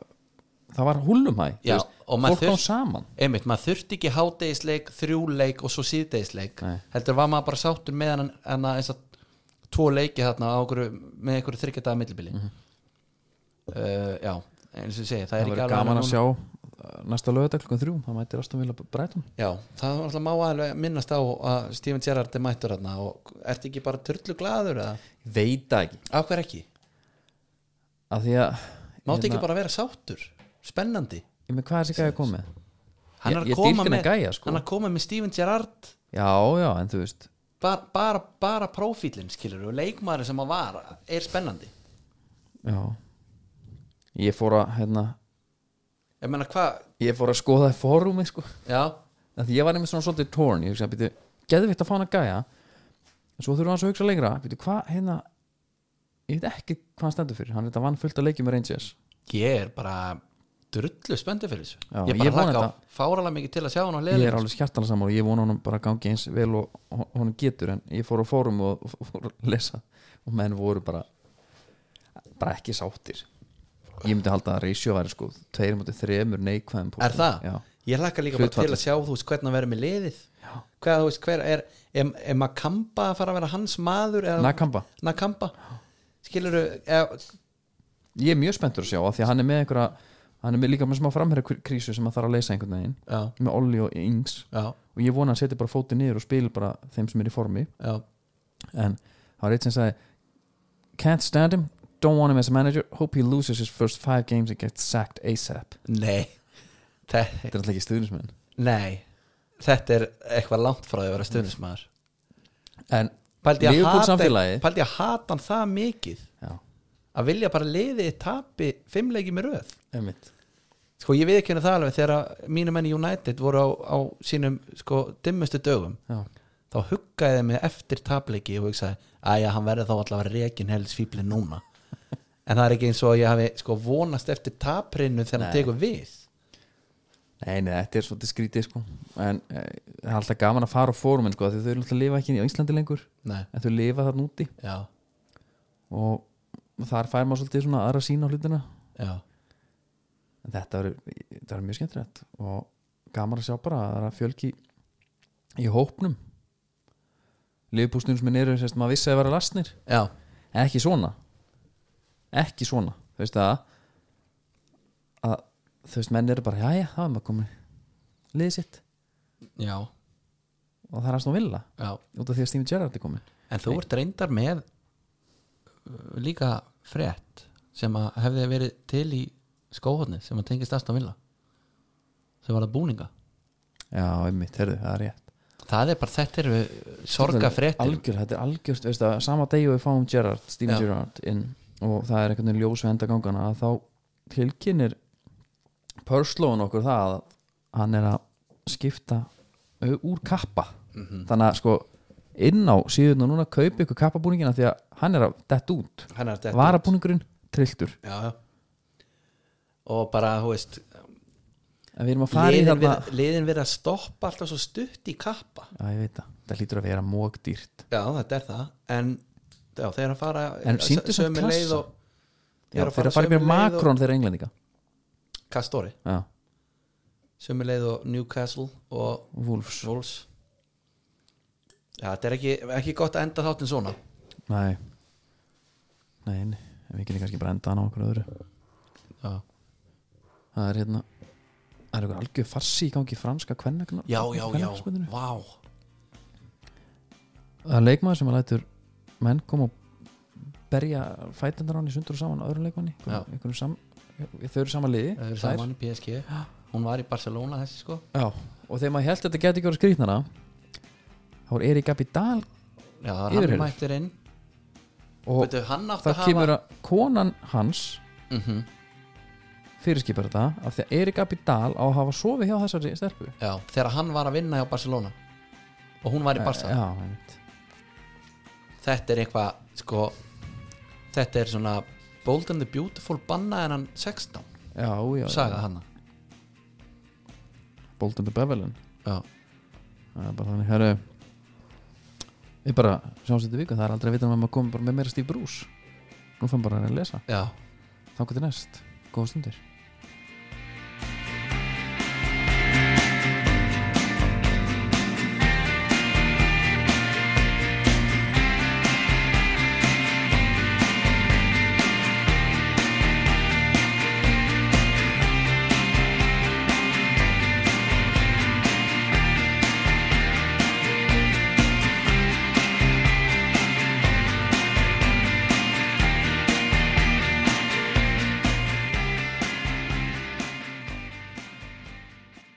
B: það var húllumæ
C: Já, og maður
B: fólk kom
C: þurft-
B: saman
C: einmitt, maður þurfti ekki hádegisleik, þrjúleik og svo síðdegisleik
B: Nei.
C: heldur var maður bara sáttur með hann, hann eins og tvo leiki þarna á okkur, með einhverju þryggjadaða millibili mm já, eins og ég segi það, er
B: Mhm. það
C: ekki
B: verður
C: alveg
B: gaman
C: núna.
B: að sjá uh, næsta lögða klukkan þrjú það mætir Aston Villa Brighton
C: Já, það var alltaf má alveg minnast á að Steven Gerrard er mættur þarna og ertu ekki bara turlu glaður eða?
B: veit það ekki
C: Af hver ekki?
B: að því að
C: Máttu
B: hérna,
C: ekki bara vera sáttur? Spennandi
B: ég með hvað er þessi gæja komið
C: Hann er
B: Ég- ég
C: að koma
B: dýrka hennar
C: með,
B: gæja, sko.
C: hann er að koma með Steven Gerrard
B: já já en þú veist
C: bara, bara, bara prófílinn skilur og leikmaður sem að var er spennandi
B: já ég fór að hérna
C: ég meina hvað,
B: ég fór að skoða fórumi sko
C: já,
B: að því ég var einmitt svona svolítið torn ég hugsaði, býtu, geðvitt að fá hann að gæja en svo þurfum hans að hugsa lengra býtu, hvað hérna ég veit ekki hvað hann stendur fyrir hann þetta vann fullt að leikja með Rangers
C: ég er bara drullu spenndi fyrir þessu
B: Já,
C: ég
B: ég
C: bara
B: vona
C: hlaka á
B: þetta.
C: fáralega mikið til að sjá hann á
B: ég
C: leðin
B: er alveg skjartalega saman og ég vona honum bara gangi eins vel og hon- honum getur en ég fór á fórum og, og fór að lesa og menn voru bara bara ekki sáttir ég myndi halda að reysjó væri sko tveir mútið þremur neikvæðum
C: er það?
B: Já.
C: ég hlaka líka bara til
B: Hlutfallið.
C: að sjá þú veist hvernig að vera með liðið hvað þú veist hver er er, er Makamba að fara að vera hans maður eða
B: Nakamba,
C: Nakamba skilur þú
B: ég er mjög spenntur að sjá af því að hann er með einhverja hann er með líka með smá framherra krísu sem að þarf að leysa einhvern veginn
C: já,
B: með Olli og Ings
C: já,
B: og ég vona að setja bara fótið niður og spila bara þeim sem er í formi
C: já
B: en það var eitt sem sagði can't stand him, don't want him as a manager hope he loses his first five games and gets sacked ASAP
C: nei Þe,
B: þetta er alltaf ekki stuðnismenn
C: nei, þetta er eitthvað langt frá því að vera stuðnismæður
B: en
C: Pældi að
B: Liverpool
C: hata-
B: samfélagið-
C: pældi að hata hann það mikið
B: já,
C: að vilja bara liði tapi fimmleiki með röð
B: einmitt
C: sko ég við ekki henni það alveg þegar að mínu menni United voru á, á sínum sko dimmustu dögum
B: já,
C: þá huggaði þeim mig eftir tapleiki og hugsaði æja hann verði þá allavega rekin helst fíblin núna en það er ekki eins og ég hafi sko vonast eftir taprinu þegar hann
B: Nei.
C: tekur við
B: nei, nei, þetta er svolítið skrítið sko en eh, það er alltaf gaman að fara á fórum en sko því þau eru alltaf að lifa ekki á Íslandi lengur
C: Nei.
B: en þau lifa þarna úti
C: já,
B: og þar fær maður svolítið svona aðra sína á hlutina
C: já,
B: en þetta verður þetta verður mjög skemmtilegt og gaman að sjá bara að það er að fjölki í hópnum liðbústunum sem er neyru sérst maður vissi að vera lastnir
C: já,
B: en ekki svona ekki svona, þú veist að að þú veist menn eru bara, jæja, það er maður komin liðið sitt
C: já,
B: og það er aðstofn vilja
C: já.
B: út af því að Steven Gerrard er komin
C: En þú ert reyndar með uh, líka frétt sem að hefði verið til í skóhóðni sem að tengist aðstæðan vilja sem var að búninga
B: já, einmitt, herðu, það er rétt
C: það er bara þetta eru uh, sorga fréttir
B: algjör, þetta er algjörst, veist að sama degi og við fáum Gerrard, Steven
C: Já.
B: Gerrard inn og það er einhvern veginn ljós við enda gangana að þá tilkynir Pörslóin okkur það að hann er að skipta ö, úr kappa
C: Mhm.
B: þannig að sko inn á síðun og núna kaupi ykkur kappabúningina því að hann er að dett út
C: hann er þetta
B: varabúningurinn trilltur
C: já, já. og bara þú veist
B: en við erum að fara í
C: liðin
B: þarna
C: verið, liðin verið að stoppa alltaf svo stutt í kappa
B: já ég veit það, það lítur að vera mógdýrt
C: já þetta er það en já, þeir eru að fara
B: En sýndu samt
C: sömu leið
B: klassa.
C: og,
B: já, þeir að fara í mér
C: sömu leið og-
B: makrón þeirra englendinga
C: Kastori
B: já,
C: sömu leið og Newcastle og
B: Wolves
C: Wolves Já, þetta er ekki, ekki gott að enda þáttin svona
B: Nei Nei, nei. En við getum kannski bara enda hann á okkur öðru
C: Já,
B: Það er hérna Það er okkur algjör farsi í gangi í franska kvenna
C: já, já, já.
B: Það
C: Vá.
B: er leikmaður sem að lætur menn koma og berja fætendar hann í sundur og saman á öðrum leikmanni
C: Já.
B: Einhverjum sam, Þau eru sama liði
C: Það er
B: þær.
C: saman í PSG Hún var í Barcelona þessi sko
B: Já, og þegar maður held að þetta geti ekki voru skrýtnara þá er Erik Abidal
C: Já, það var
B: Yfirheyrður.
C: hann mættir inn
B: og
C: Veitu, hann átti
B: það
C: að hafa
B: kemur að konan hans
C: Mhm.
B: fyrirskipar þetta af því að Erik Abidal á að hafa sofið hjá þessari stelpu
C: Já, þegar hann var að vinna hjá Barcelona Og hún var í Barcelona
B: Já, einmitt
C: Þetta er eitthvað, sko Þetta er svona Bold and the Beautiful banna en hann 16
B: já, já, já.
C: Saga hann
B: Bold and the Bevelin
C: Já,
B: það er bara þannig, herru við bara sjáumst þetta viku, það er aldrei að vita um að maður komi bara með meira stíf brús nú fann bara að reyna að lesa,
C: já
B: þá getur næst góða stundir